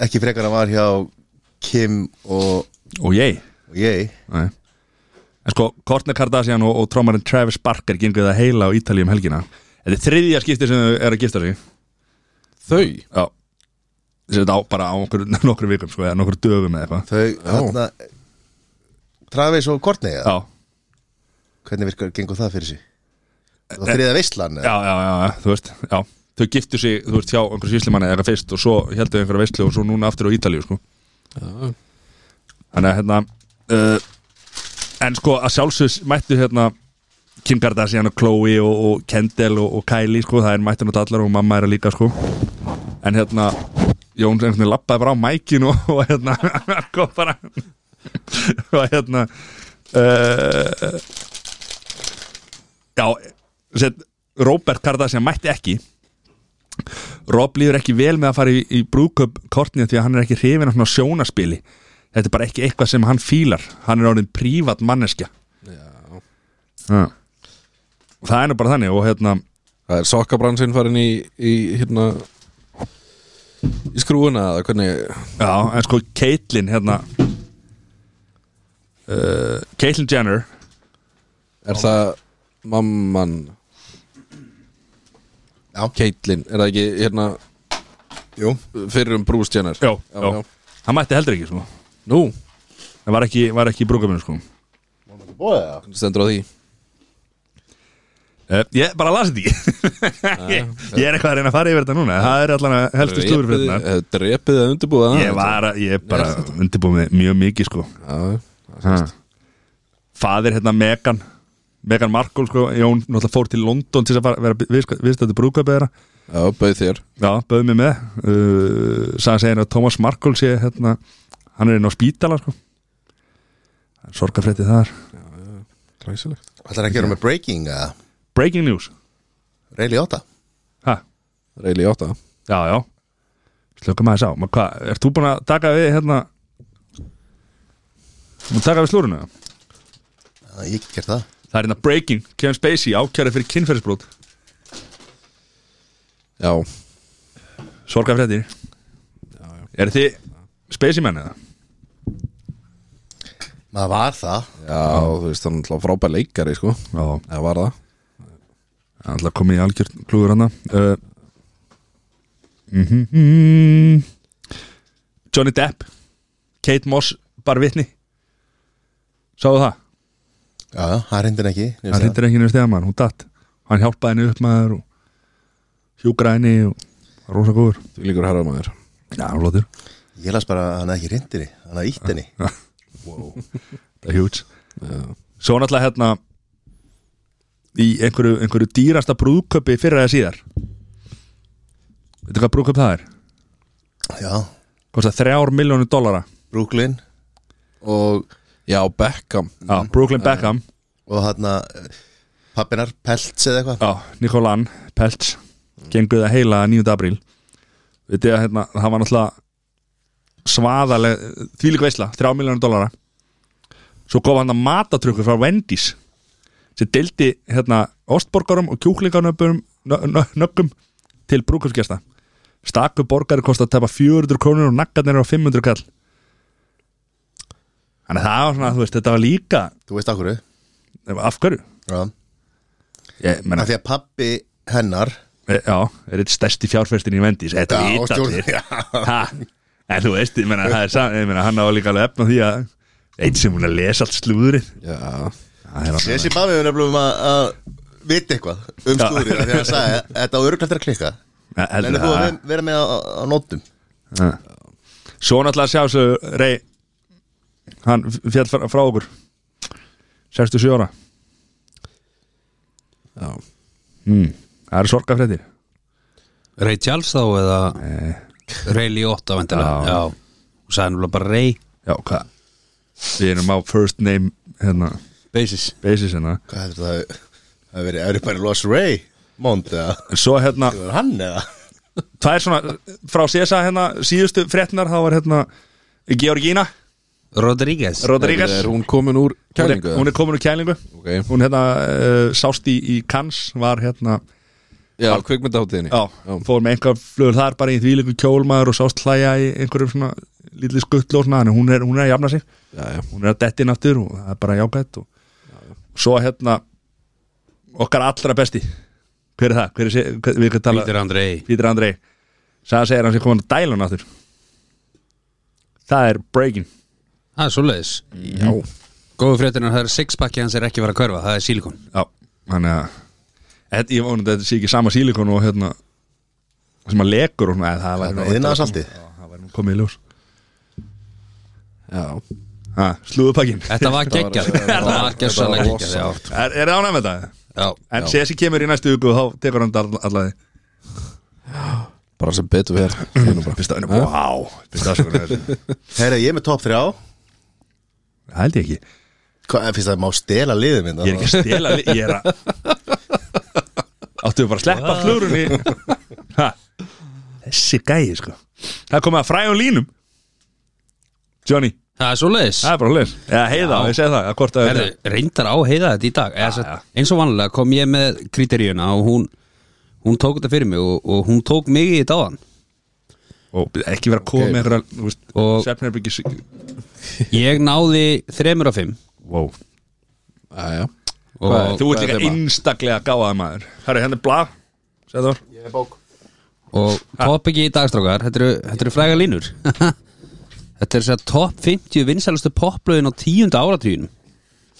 S3: Ekki frekar að var hjá Kim og,
S1: og ég
S3: og ég
S1: Nei. En sko, Kourtney Kardashian og, og trómarinn Travis Barker gengur það heila á Ítalíu um helgina Þetta er þriðja skipti sem þau er að gifta sig
S4: Þau,
S1: Já Þessi þetta á bara á okkur, nokkur vikum sko, eða nokkur dögum eða eitthvað
S3: Þau, hérna Travis og Courtney, eða?
S1: Já,
S3: hvernig virkar gengur það fyrir sig? Það var þriða veistlan
S1: já, já, já, já, þú veist já. Þau giftu sig, þú veist, hjá einhverjum sýslimanni eða eitthvað fyrst og svo heldur þau einhverja veistlu og svo núna aftur á Ítalíu sko.
S4: já,
S1: Þannig að hérna uh, En sko að sjálfsög mættu hérna Kim Kardashian og Khloe og, og Kendall og, og Kylie sko Það er mættu nátt allar og mamma er að líka sko En hérna Jón einhvern veginn lappaði bara á mækin og, og hérna Kom bara Og hérna uh, Já set, Robert Kardashian mætti ekki Rob líður ekki vel með að fara í, í brúköp Kortnið því að hann er ekki hrifin af svona sjónaspili þetta er bara ekki eitthvað sem hann fílar hann er orðin prívat manneskja já. það er nú bara þannig og hérna
S4: Það er sokkabransin farin í, í hérna í skrúuna eða hvernig
S1: já, en sko Caitlyn hérna uh, Caitlyn Jenner
S4: er það mamman
S3: Já.
S4: Caitlyn, er það ekki hérna
S3: Jú,
S4: fyrir um Bruce Jenner
S1: já,
S4: Já,
S1: já,
S4: já.
S1: hann mætti heldur ekki sko
S4: Nú,
S1: hann var ekki, var ekki í brúkabinu sko
S4: stendur á því
S1: Uh, ég bara las þetta ekki ég, ég er eitthvað að reyna að fara yfir þetta núna Það er allan að helstu slúður fyrir
S4: Drepið-
S1: þetta
S4: eh, Drepið að undirbúa það
S1: Ég var að, ég bara undirbúið mig mjög mikið sko
S4: Já,
S1: Fadir hérna Megan Megan Markle sko, Jón náttúrulega fór til London til þess að fara, vera viðstættu brúkabið þeirra
S4: já bauð þér
S1: Já, bauði mig með uh, Sæðan segir að Thomas Markle sé hérna, hann er inn á spítala sko Sorgafrétti þar
S4: Ræsilegt
S3: ætlar að gera með breaking uh,
S1: Breaking news,
S3: Ray Liotta
S1: hæ?
S4: Reili átta
S1: Já, já Slökum aðeins á, maður hvað, ert þú búin að taka við hérna Búin að taka við slúrinu?
S3: Já, Ég get gert það
S1: Það er hérna breaking, Kevin Spacey ákjæri fyrir kynferðisbrót
S4: Já,
S1: Sorga fréttir Er þið Spacey menn eða?
S3: Maður var það
S4: já, þú veist hann er alltaf frábær leikari sko
S1: Já,
S4: Eða var það
S1: það er alltaf komið í algjör klúður hana uh, mhm, mhm. Johnny Depp Kate Moss, bara vitni Sáðu það?
S3: Já, já, hann reyndir ekki ég
S1: hann
S3: veist
S1: hittir enginn um stegamann, hún datt hann hjálpaði henni upp maður og hjúgra henni og var rosa góður
S4: Þú líkur herramæður
S1: já, hann lótur,
S3: það. Ég las bara að hann hafi ekki reyndir Hann hafi ítt henni
S1: það er hjúts svo náttúrulega hérna í einhverju, einhverju dýrasta brúðköpi fyrir eða síðar veitu hvað brúðköp það er?
S3: Ah. Já,
S1: kostar þrjár miljónu dollara
S3: Brooklyn Og,
S4: Já, Beckham
S1: já, Brooklyn Beckham,
S3: og hann að Pappinar Peltz eða eitthvað
S1: já, Nikolan Peltz, genguð að heila 9. apríl veitu að hérna, það var náttúrulega svaðaleg, þvílík veisla þrjár miljónu dollara svo kom hann að matatrykku frá Wendy's sem deildi hérna ostborgarum og kjúklingarnöppum nö- nö- nöggum til brúkupsgesta stakku borgari kosti að tepa 400 krónur og naggarnir eru á 500 kall þannig að það var svona, þú veist, þetta var líka
S3: Þú veist okkur Já,
S1: af hverju? Ég, menna,
S3: af því að pappi hennar
S1: e, já, er eitt stærsti fjárfestin í Vendís þetta
S3: Já,
S1: vita
S3: stjórn-
S1: allir
S3: Já.
S1: Ha, en þú veist, ég menna, það er sam, ég menna, hann á líka alveg efna því að eitt sem hún er að lesa allt slúðrið
S4: Já,
S1: Það er alveg-
S3: Þessi bafið er nefnilega um að, að vita eitthvað um
S1: Já.
S3: slúðrið af því að hann sagði að þetta á öruglega eftir að klikka
S1: Ja, heldur
S3: en þú að
S1: það.
S3: ver- vera með á, á nótum
S1: Ja. Svo náttúrulega sjá svo Rey Hann fjall frá, frá okkur 67 ára
S4: já
S1: mm. Það eru sorgafréttir
S2: Ray Charles þá eða
S1: Nei.
S2: Ray Liotta vendilega
S1: Eh. Já.
S2: Já, og sagði náttúrulega bara Ray
S1: Já, hvað Við erum á first name hérna,
S2: Basis
S1: basis hérna
S3: Hvað heldur það hafi- hafi verið Everybody Lost Ray Mond eða
S1: En Svo hérna,
S3: það var hann eða
S1: það er svona Frá CSA hérna, síðustu fréttnar Það var hérna Georgina
S2: Rodríguez
S1: Rodríguez
S4: Er hún komin úr
S1: Hún
S4: kælingu?
S1: er- Hún er komin úr kælingu
S4: Ok.
S1: Hún hérna uh, sást í, í Kans Var hérna
S4: Já, kvikmyndaháttíðinni
S1: Já, fór með einhver flugur þar bara í því líku kjólmaður og sást hlæja í einhverjum svona lítið skuttlu og svona en hún er, hún er að jafna sig,
S4: já, já
S1: hún er að detti inn aftur og það er bara jágætt og svo hérna okkar allra besti hver er það? Hver er, sé- hver, við kanum tala
S2: Peter Andrei
S1: Pítur Andrei sagði segir hann sé komin að dæla hann aftur það er breaking Mhm.
S2: Það er svoleiðis Já Góðu fréttinar, það er sixpacki hans er ekki verið að körfa Það er sílikon
S1: já, þannig að þetta, ég vonandi að þetta sé ekki sama sílikon og hérna sem að lekur og svona eða það
S3: Þarna
S1: væri nú-
S3: iðnaðarsaltið.
S1: Já, það væri nú komið í ljós
S4: Já,
S1: Ha, slúðupakkin
S2: Þetta var geggjað Þetta var gjössalega geggjað Já,
S1: Er, er það ánægð með þetta?
S2: já
S1: En Sessi kemur í næstu viku og þá tekur hann all, allaði
S4: bara sem betur verð Einu bara.
S1: Fyrst að henni, wow Fyrst að afsökunar á þessu.
S3: Herra ég er með top 3
S1: Það held ég ekki Ég
S3: Hvað, finnst það má stela liðum minna
S1: er ekki að stela li- Ég er að Áttu við bara að sleppa flugurinn í Ha Þessi gæi sko Það er komið að fræjum línum Johnny
S2: Það er svo leiðis
S1: Það er bara leir Já, heiða,
S2: Já.
S1: ég segi það að hvort að
S2: Herðu, reyndar á heiða þetta í dag ja,
S1: já.
S2: ja. eins og vanlega kom ég með kriteríuna og hún, hún tók þetta fyrir mig og, og hún tók mig í þetta á hann
S1: og ekki vera að koma með einhverja, þú veist,
S2: Og-
S1: svefnherbergis
S2: ég náði þremur af fimm
S1: wow.
S4: Æja
S2: og
S4: Hvað er
S1: Þú ert
S4: er
S1: líka
S4: þeim að-
S1: einstaklega gáðað maður hérna Herri, henni blá Sæður
S2: Og topp ekki í dagstrákar Þetta eru, þetta eru fræga línur Þetta er sér topp 50 vinsælustu poplöðin á tíunda áratvíðin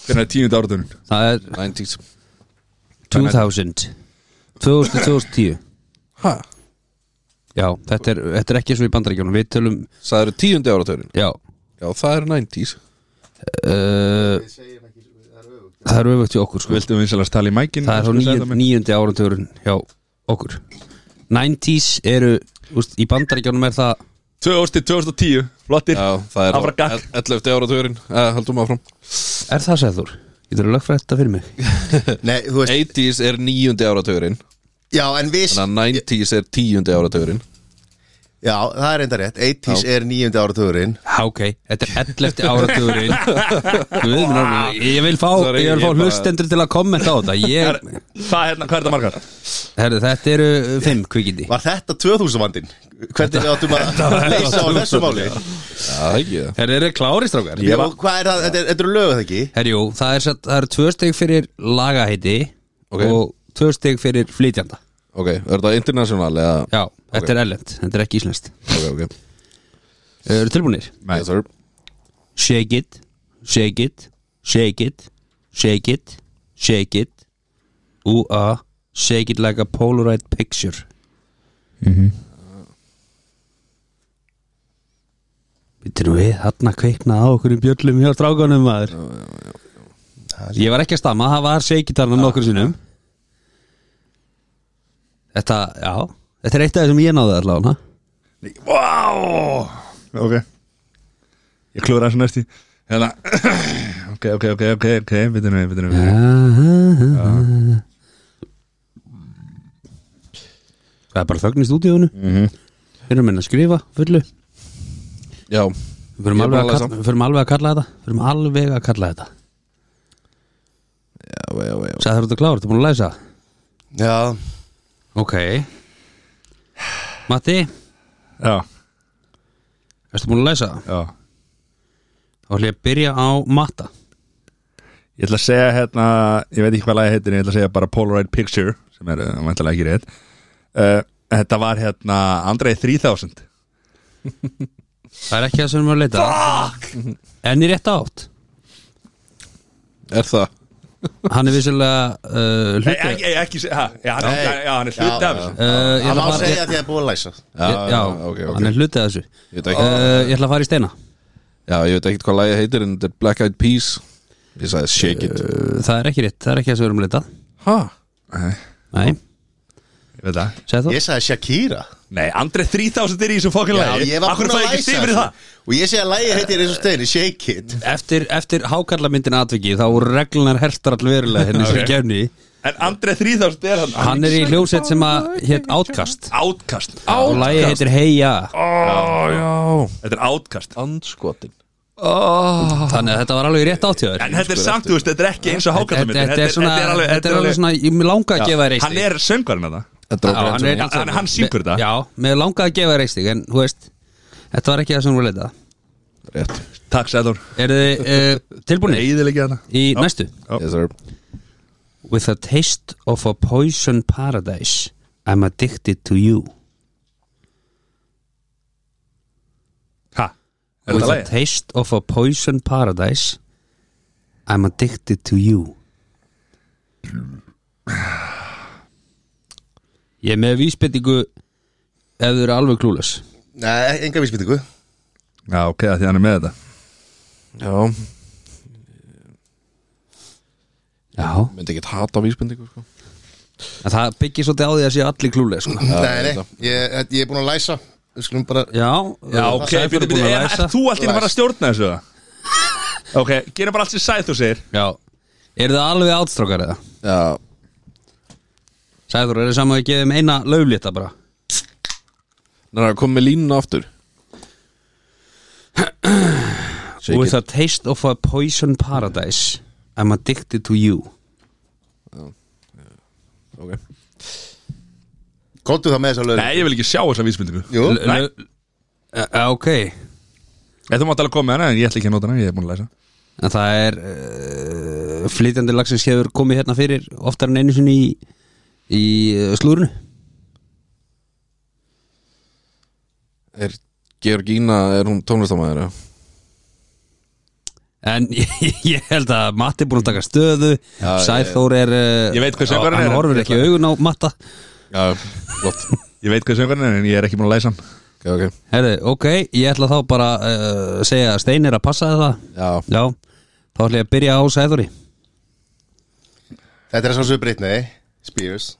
S1: Hvernig er tíund áratunum
S2: Það er
S4: 90s
S2: 2000 2000, 2010
S4: Hæ?
S2: Já, þetta er, þetta er ekki svo í bandaríkjónum Við tölum,
S4: Það eru tíundi áratörin
S2: já
S4: Já, það eru 90s
S2: uh, Það er öfugt í okkur sko.
S1: Viltu vinsalast tala í mækin
S2: Það er svo níund, níundi áratvíðin hjá okkur 90s eru, úst, í bandaríkjónum er það
S1: 2000 2010, flottir
S4: Já, það
S1: Það var
S4: eru
S1: gagn.
S4: 11. áratörin Eh, Haldum áfram
S2: Er það sæður? Ég þurfum að lögfræða þetta fyrir mig
S3: Nei, þú veist
S4: 80s er níundi áratörin
S3: Já, en við
S4: Þannig að 90s er tíundi áratörin
S3: Já, það er enda rétt 80s er nýjöndi áratugurinn
S2: Já, ok, þetta er 11. áratugurinn Guð minn orðinn, Ég vil fá,
S4: Sorry,
S2: ég vil fá
S4: ég bara-
S2: hlustendur til að kommenta á þetta ég,
S1: Hvað hérna, hvað er það margar?
S2: herðu, Þetta eru uh, fimm kvikindi
S3: Var þetta 2000 vandinn? Hvernig við áttum að leysa á þessu máli?
S4: Já, ekki það
S2: Herðu, eru klári strákar?
S3: Já, hvað er það? Þetta er- þetta eru lög það ekki?
S2: Herðu, jú, það er, satt- það eru tvö steg fyrir lagaheiti
S4: Ok.
S2: og tvö steg fyrir flytjanda
S4: Ok, er það international eða
S2: Já, þetta er erlend, þetta er ekki íslenskt
S4: Ok, ok
S2: Eru tilbúinir?
S4: Yes, sir
S2: Shake it, shake it, shake it, shake it, shake it Ú-a, shake it like a polaroid picture Býttir við, þarna kveikna á okkur um bjöllum hjá strákanum maður Ég var ekki að stamma, það var seikitarna nokkur sinnum Þetta, já Þetta er eitt af þessum ég náði allavega
S1: Vá Ok Ég klúður aðeins næst í Hérna Ok, ok, ok, ok, ok Vitinu, vitinu, vitinu
S2: Það er bara þögn í stúdíónu mm
S4: Mhm.
S2: -hmm. Við erum minna að skrifa fullu
S4: Já,
S2: Við förum
S4: Ég er
S2: alveg,
S4: bara
S2: að
S4: að
S2: kalla-
S4: lesa.
S2: við förum alveg að kalla þetta Við förum alveg að kalla þetta
S4: já, já, já
S2: Sæð þar út að klára, ertu búin að læsa
S3: Já,
S2: Ok Matti,
S1: Já,
S2: ertu búin að læsa
S1: já
S2: Þá ætlum ég að byrja á matta
S1: Ég ætla að segja hérna Ég veit ekki hvað lagi heitir en Ég ætla að segja bara Polaroid Picture Sem er vantilega ekki rétt uh, Þetta var hérna Andrei 3000
S2: Það er ekki það sem við erum að leita Fuck! En í rétt átt
S4: Er það?
S2: Hann er vissilega uh,
S1: Nei,
S2: hluti
S1: ekki, ekki ha, já, hann,
S3: Nei.
S1: já, hann er hluti
S3: Já,
S1: af þessu
S2: Uh, ég
S3: það
S2: ætla
S3: má
S2: að fara-
S3: segja að ég er búin að læsa
S4: Já,
S2: Ég- Já,
S4: ok, ok
S2: hann er hlutið þessu
S4: Ég veit ekki
S2: uh, Ég ætla að fara í steina
S4: Já, ég veit ekkert hvað lagið heitir en þetta er Black Eyed Peas Ég sagði Shake It
S2: uh, Það er ekki rétt, það er ekki það sem við erum að leita
S4: Hæ?
S1: Nei,
S2: Nei,
S1: ég veit það
S2: segð þú
S3: Ég sagði Shakira
S1: Nei, Andrei 3000 er í þessu fokkin
S3: Já,
S1: lagi
S3: ég var
S1: Akkur
S3: búin
S1: fæ ég
S3: að
S1: ekki
S3: læsa
S1: stig fyrir það
S3: þessu. Og ég segi að lagi heitir eins og steini Shake it
S2: Eftir, eftir hákarlamyndin atviki þá voru reglunar hertar allverulega hérna sem
S1: Ok.
S2: gefni
S1: En Andrei 3000 er hérna. hann
S2: Hann er í hljóset sem að hétt Outcast
S1: Átkast
S2: og lagið heitir Heya
S1: Þetta er átkast
S4: Andskotin
S2: Þannig að þetta var alveg rétt áttjóður
S1: En sko, þetta er samt, þú veist, þetta er ekki eins og hákallamynd
S2: Þetta er svona, þetta er alveg svona ég mig langa að gefa þér eitt
S1: Hann
S2: stig.
S1: er söngvarinn að það
S4: Þetta
S2: Já,
S4: er
S2: hann er
S4: okkur eins
S1: einn-
S4: og
S1: en hann syngur þetta.
S2: Já, mig langa að gefa þér eitt stig en þú veist, þetta var ekki það sem við leita
S4: Rétt
S1: Takk Sæður
S2: Er þið uh, tilbúinir
S1: Íðilegja hana
S2: í næstu?
S4: Yes sir
S2: With a taste of a poison paradise I'm addicted to you
S1: Ha, er þetta
S2: With a
S1: lagi?
S2: taste of a poison paradise I'm addicted to you Ég er með vísbendingu ef þau eru alveg klúles
S3: Nei, enga vísbyttingu
S1: Já, ok, af því hann er með þetta
S4: Já,
S2: Já,
S4: myndi ekki hata vísbendingu sko
S2: en það byggir svolítið á því að séu allir klúles sko.
S3: Nei, nei, ég, ég er búin að læsa Við skulum bara
S2: Já,
S1: Já, ok, byrju, byrju, er er þú allt í að fara að stjórna þessu það? Ok, gera bara allt sem Sæður segir
S2: Já, eru það alveg átstrókar eða?
S4: Já,
S2: Sæður, er það saman að ég gefa þeim eina löflétta bara?
S4: þannig að koma með línuna aftur Shake
S2: With a taste of a poison paradise I'm addicted to you
S4: Ok.
S3: Kóttu það með þess að lögur
S1: Nei, ég vil ekki sjá þessa vísmyndingu
S3: Jú,
S2: L- l- Eh, Ok
S1: Þetta mátt alveg koma með hana en ég ætla ekki að nota hana, ég er búin að læsa
S2: En það er uh, flytjandi lagsins hefur komið hérna fyrir oftar en einu sinni í, í eh, slúrinu
S4: Er Georgína, er hún tónlistamæður? eða?
S2: En ég held að Matti er búin að taka stöðu
S4: Já,
S2: Sæþór er uh,
S1: Ég veit hver söngvarinn er,
S2: Hann
S1: en-
S2: horfir ekki í augun á Matta
S4: Já, flott
S1: Ég veit hvað söngurinn er en ég er ekki búin að læsa hann
S4: Ok, ok
S2: Herðu, ok, ég ætla þá bara að uh, segja að Stein er að passa það
S4: Já,
S2: Já, þá ætla ég að byrja á Sæþóri
S3: Þetta er að svo Britney Spears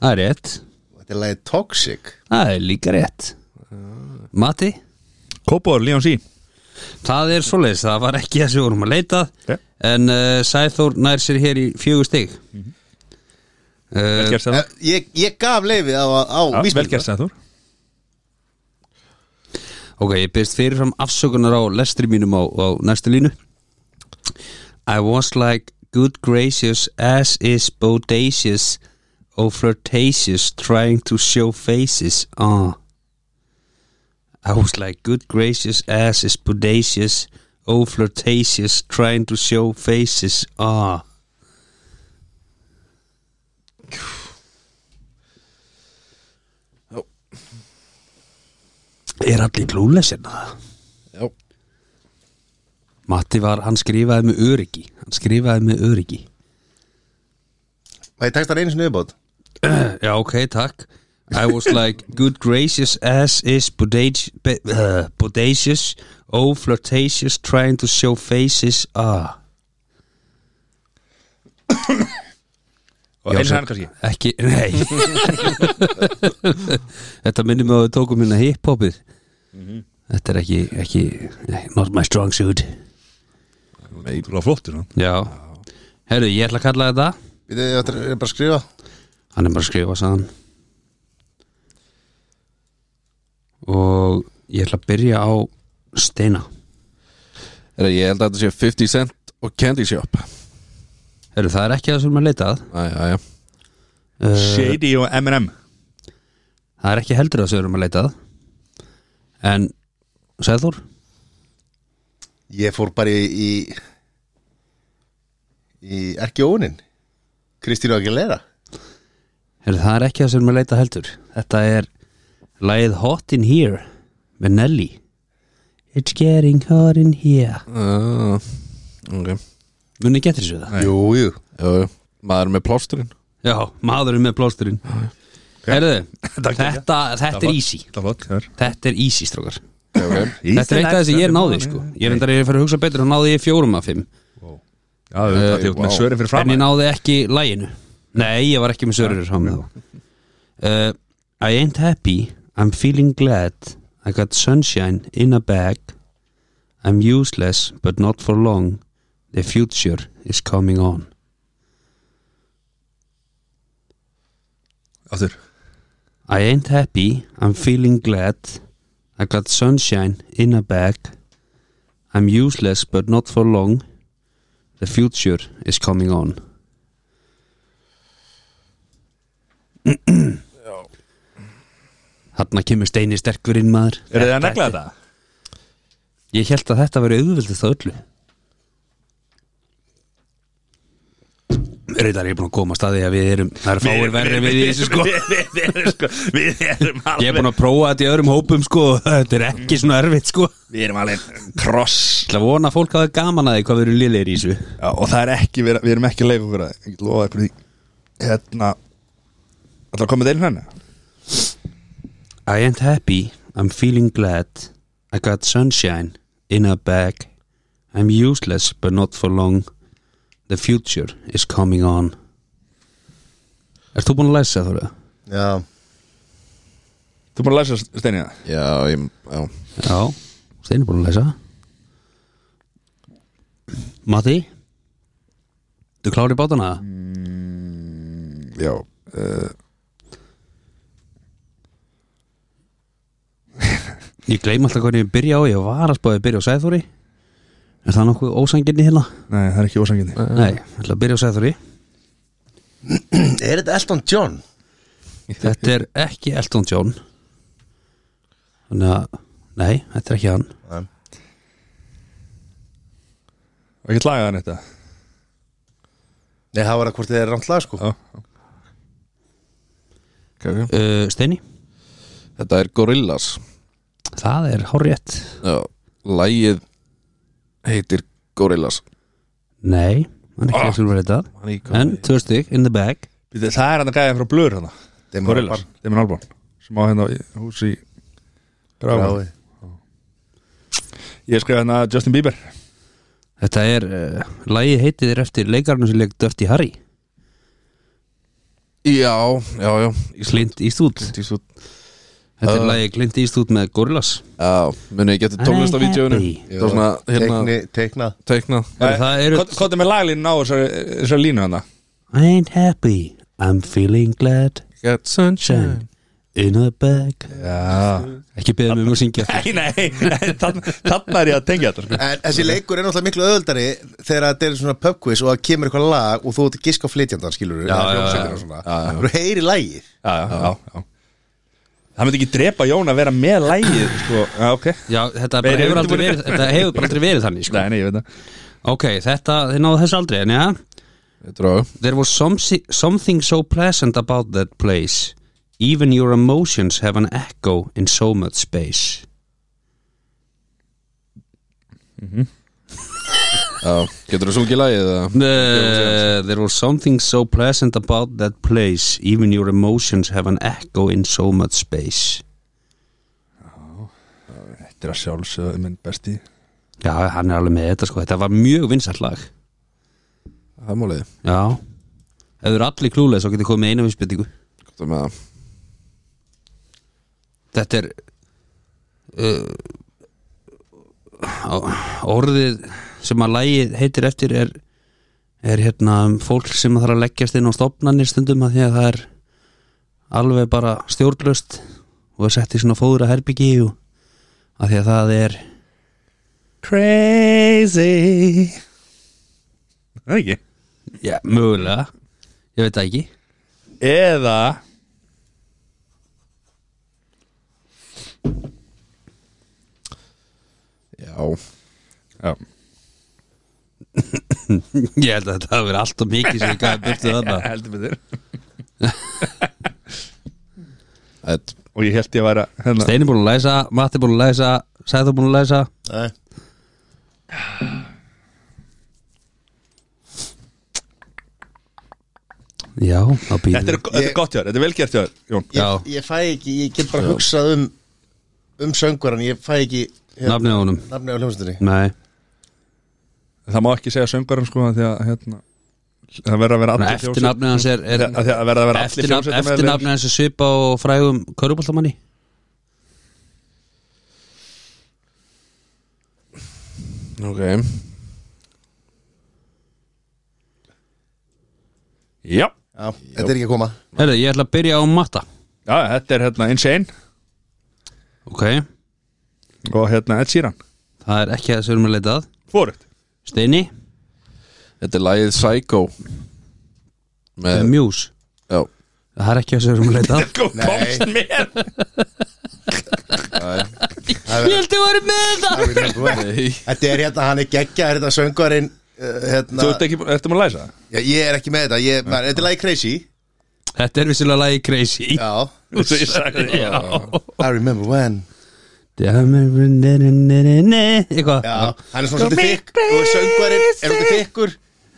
S2: Það er rétt,
S3: Þetta er lagið Toxic
S2: það er líka rétt Matti,
S1: Kópor, Leon C
S2: það er svoleiðis, það var ekki þessi vorum að leita
S1: Ok.
S2: En uh, Sæþór nær sér hér í fjögur stig mm
S1: Vel gert
S3: Eh,
S1: Sæður
S3: Ég, ég gaf leiði á, á
S1: Já, Vel
S3: vísbendingu.
S1: gert Sæður
S2: Ok, ég byrst fyrirfram afsökunar á lestri mínum á, á næstu línu I was like good gracious as is bodacious or flirtatious trying to show faces ah I was like good gracious as is bodacious or flirtatious trying to show faces ah Er allir glúlesir það?
S4: já
S2: Matti var, hann skrifaði með öryggi hann skrifaði með öryggi
S3: Það er textar einu sinni viðbót
S2: Já, ok, takk I was like good gracious as is bodacious, uh, bodacious oh flirtatious trying to show faces ah
S1: Og
S2: Já,
S1: eins
S2: svo-
S1: hann kannski
S2: ekki, nei Þetta minnir mig að við tókum hérna hiphopið Þetta er ekki, ekki nei, not my strong suit
S1: Þú var flottur svona
S2: Já, herru, ég ætla að kalla þetta
S3: Við þau, þetta er bara að skrifa
S2: Hann er bara að skrifa saðan Og ég ætla að byrja á Steina
S4: Herra, Ég held að þetta sé 50 Cent og Candy Shop
S2: Heru, Það er ekki það sem er leitað
S4: Æ, já, já
S2: uh,
S1: Shady og M&M
S2: Það er ekki heldur það sem erum að leitað En Sæður
S3: Ég fór bara í í, í Erki Ónin Kristínu Aguilera
S2: Heru, Það er ekki það sem erum að leitað heldur Þetta er lagið Hot in Here með Nelly It's getting hot in here
S4: uh, Ok,
S2: Muni getur þessu það?
S3: Jú, jú
S4: já, já Maður með plásturinn
S2: Já, maðurinn með plásturinn Herðu,
S1: Takk, takk.
S2: þetta, þetta er easy
S1: Það var flott Sæður
S2: Þetta er easy, strókar
S4: Já, ok
S2: Þetta er eitt af þess að ég náði sko Ég reyndar að ég fyrir að hugsa betur og náði ég fjórum af fimm
S1: Já, þú veist að ég út með svörin fyrir
S2: En
S1: fram
S2: ég náði ekki læginu Nei, ég var ekki með sörur saman með þá uh, I ain't happy I'm feeling glad I got sunshine in a bag I'm useless but not for long The future is coming on
S1: Aftur
S2: I ain't happy I'm feeling glad I got sunshine in a bag I'm useless but not for long The future is coming on Þarna kemur steini sterkur inn maður
S1: Er þið að negla þetta?
S2: Ég held að þetta veri auðvöldið það öllu Reyndar ég er búin að koma að staði að við erum Það er fáir verri við í þessu sko
S1: Við við erum sko Við erum
S2: Ég er
S1: alveg
S2: búin að prófa þetta í öðrum hópum sko Þetta er ekki svona erfitt sko Ég
S1: Við erum alveg Kross
S2: ætla að vona að fólk hafa gaman að því hvað við erum lélegir í þessu
S1: Já, og það er ekki, við við erum ekki að leika okkur að ég get lofa ykkur því hérna Það er að koma hérna? til henni
S2: I ain't happy, I'm feeling glad I got sunshine in a bag I'm useless but not for long The future is coming on Ert þú búin að læsa þú?
S3: Já,
S1: Þú er búin að læsa steinina
S4: Já, ég, já
S2: Já, Steini búin að læsa Matti Þú klári bátana?
S1: Já uh,
S2: Ég gleym alltaf hvernig ég byrja á Ég var að spáði að byrja á Sæðþóri Er það nokkuð ósanginni hérna?
S1: Nei, það er ekki ósangindi
S2: Nei, ég ætla að byrja á Sæþóri
S3: Er þetta Elton John?
S2: Þetta er ekki Elton John Þannig að Nei, þetta er ekki hann
S3: Nei.
S1: Og ekki laga hann þetta
S3: Nei, það var að hvort þið er rámt lag sko
S1: Já.
S4: okay, okay.
S2: uh, Steini,
S4: Þetta er Gorillas
S2: það er hárétt
S4: Já, lægið heitir Gorillas
S2: Nei, Ah. hann er ekki ekki verið þetta
S4: Hann er ekki
S2: En, tvö stygg, in the bag
S1: Býtu, Það er hann að gæða frá blur hann
S3: Damon
S1: Gorillas,
S3: Albarn.
S1: Demon Albarn sem á hérna í- hús í Gráa
S3: Grái.
S1: Ég skrifa hérna Justin Bieber
S2: Þetta er, uh, lagið heitið er eftir leikarnum sem leik Döfti Harry
S4: Já, já, já
S2: Clint Eastwood Uh.
S4: Ísland
S2: Þetta er lagið Clint Eastwood með Gorillaz
S4: Já, muni ég geti tónlist af vídjóinu
S2: Happy.
S4: Það var svona, hérna,
S3: Teikni- Teiknað
S4: teikna
S2: Herru, það eru-
S1: Kottu með laglínu á þessari þessari línu hann
S2: I ain't happy, I'm feeling glad
S4: Get sunshine
S2: In the bag
S1: Já
S2: Ekki beðið mig um að syngja
S1: Nei, nei, nei, þann- þarna er ég að tengja þetta sko.
S3: En þessi leikur er náttúrulega miklu öðuldari þegar þetta er svona pub quiz og það kemur eitthvað lag og þú ert að giska á flytjandan skilur já, já, já, já. þú heyri lagið
S1: já, já, já, já. Það myndi ekki drepa Jón að vera með lægið sko. Já, ok
S2: Já, þetta, bara
S1: Meiri
S2: hefur aldrei
S1: undirbúningur.
S2: verið, þetta hefur bara aldrei verið þannig sko.
S1: Nei, nei, ég veit það
S2: Ok, þetta, þið náðu þessu aldrei en, ja,
S4: Þetta er á
S2: There was some, something so pleasant about that place Even your emotions have an echo in so much space
S4: Já, getur þú sungið lægið það?
S2: Uh, there was something so pleasant about that place Even your emotions have an echo in so much space
S1: Þetta er að sjálfsögðu minn besti
S2: Já, hann er alveg með þetta sko Þetta var mjög vinsælt lag
S4: Það er málið
S2: Já Ef þú eru allir klúlega svo getið komið með eina vísbyrtingu
S4: Gott að með það
S2: Þetta er uh, á- Orðið sem að lægið heitir eftir er, er hérna um fólk sem þarf að leggjast inn á stofnanir stundum að því að það er alveg bara stjórnlaust og er sett í svona fóðra herbyggi og að því að það er
S1: Crazy Það er ekki
S2: já, mögulega ég veit það ekki
S1: Eða
S4: Já,
S1: Já,
S2: ég held að þetta hafi verið allt og mikið sem ég gæði byrtuð þarna
S1: heldur betur
S4: þetta
S1: Og ég held ég að vera hérna
S2: Steini búin að læsa, Matti búin að læsa Sæður búin að læsa
S3: Nei.
S2: já, þá býðum
S1: Þetta er, þetta er gott hjá þér, þetta er velgert hjá þér, Jón
S2: Já.
S3: ég, ég fæ ekki, ég get bara hugsað um um sönguran, ég fæ ekki
S2: nafnið á honum
S3: nafni á hljómsundinni
S2: Nei,
S1: Það má ekki segja söngarinn sko af Því að hérna Það verður að vera allir
S2: eftirnafnið hans er, er
S1: Það verður að vera allir
S2: eftirnafn,
S1: hljómsveitar með
S2: Eftirnafnið hans er svipa og frægum Köruboltamanni
S4: Ok
S1: Já,
S3: já, þetta er ekki að koma
S2: Herðu, ég ætla að byrja á matta
S1: já, þetta er hérna Insane
S2: Ok,
S1: og hérna Ed Sheeran
S2: það er ekki að þessu erum að leita að
S1: Fóruð
S2: Steini,
S4: Þetta er lægið Psycho
S2: uh,
S4: Með,
S2: Muse
S4: já
S2: Það er ekki að þessu erum að leita að
S1: Komst með
S2: Ég held að vera með þetta
S4: Nei
S3: þetta er hérna, hann er geggja, þetta söngurin uh, hérna,
S1: Þú ert ekki, ertu maður að læsa?
S3: já, ég er ekki með þetta ég, man, þetta er lagið Crazy
S2: Þetta er vissilega lagi crazy
S3: já,
S1: Þú ég sagði það Já,
S3: I remember when
S2: Eitthvað
S3: já, hann er svona svolítið þykk og söngurin er svolítið þykkur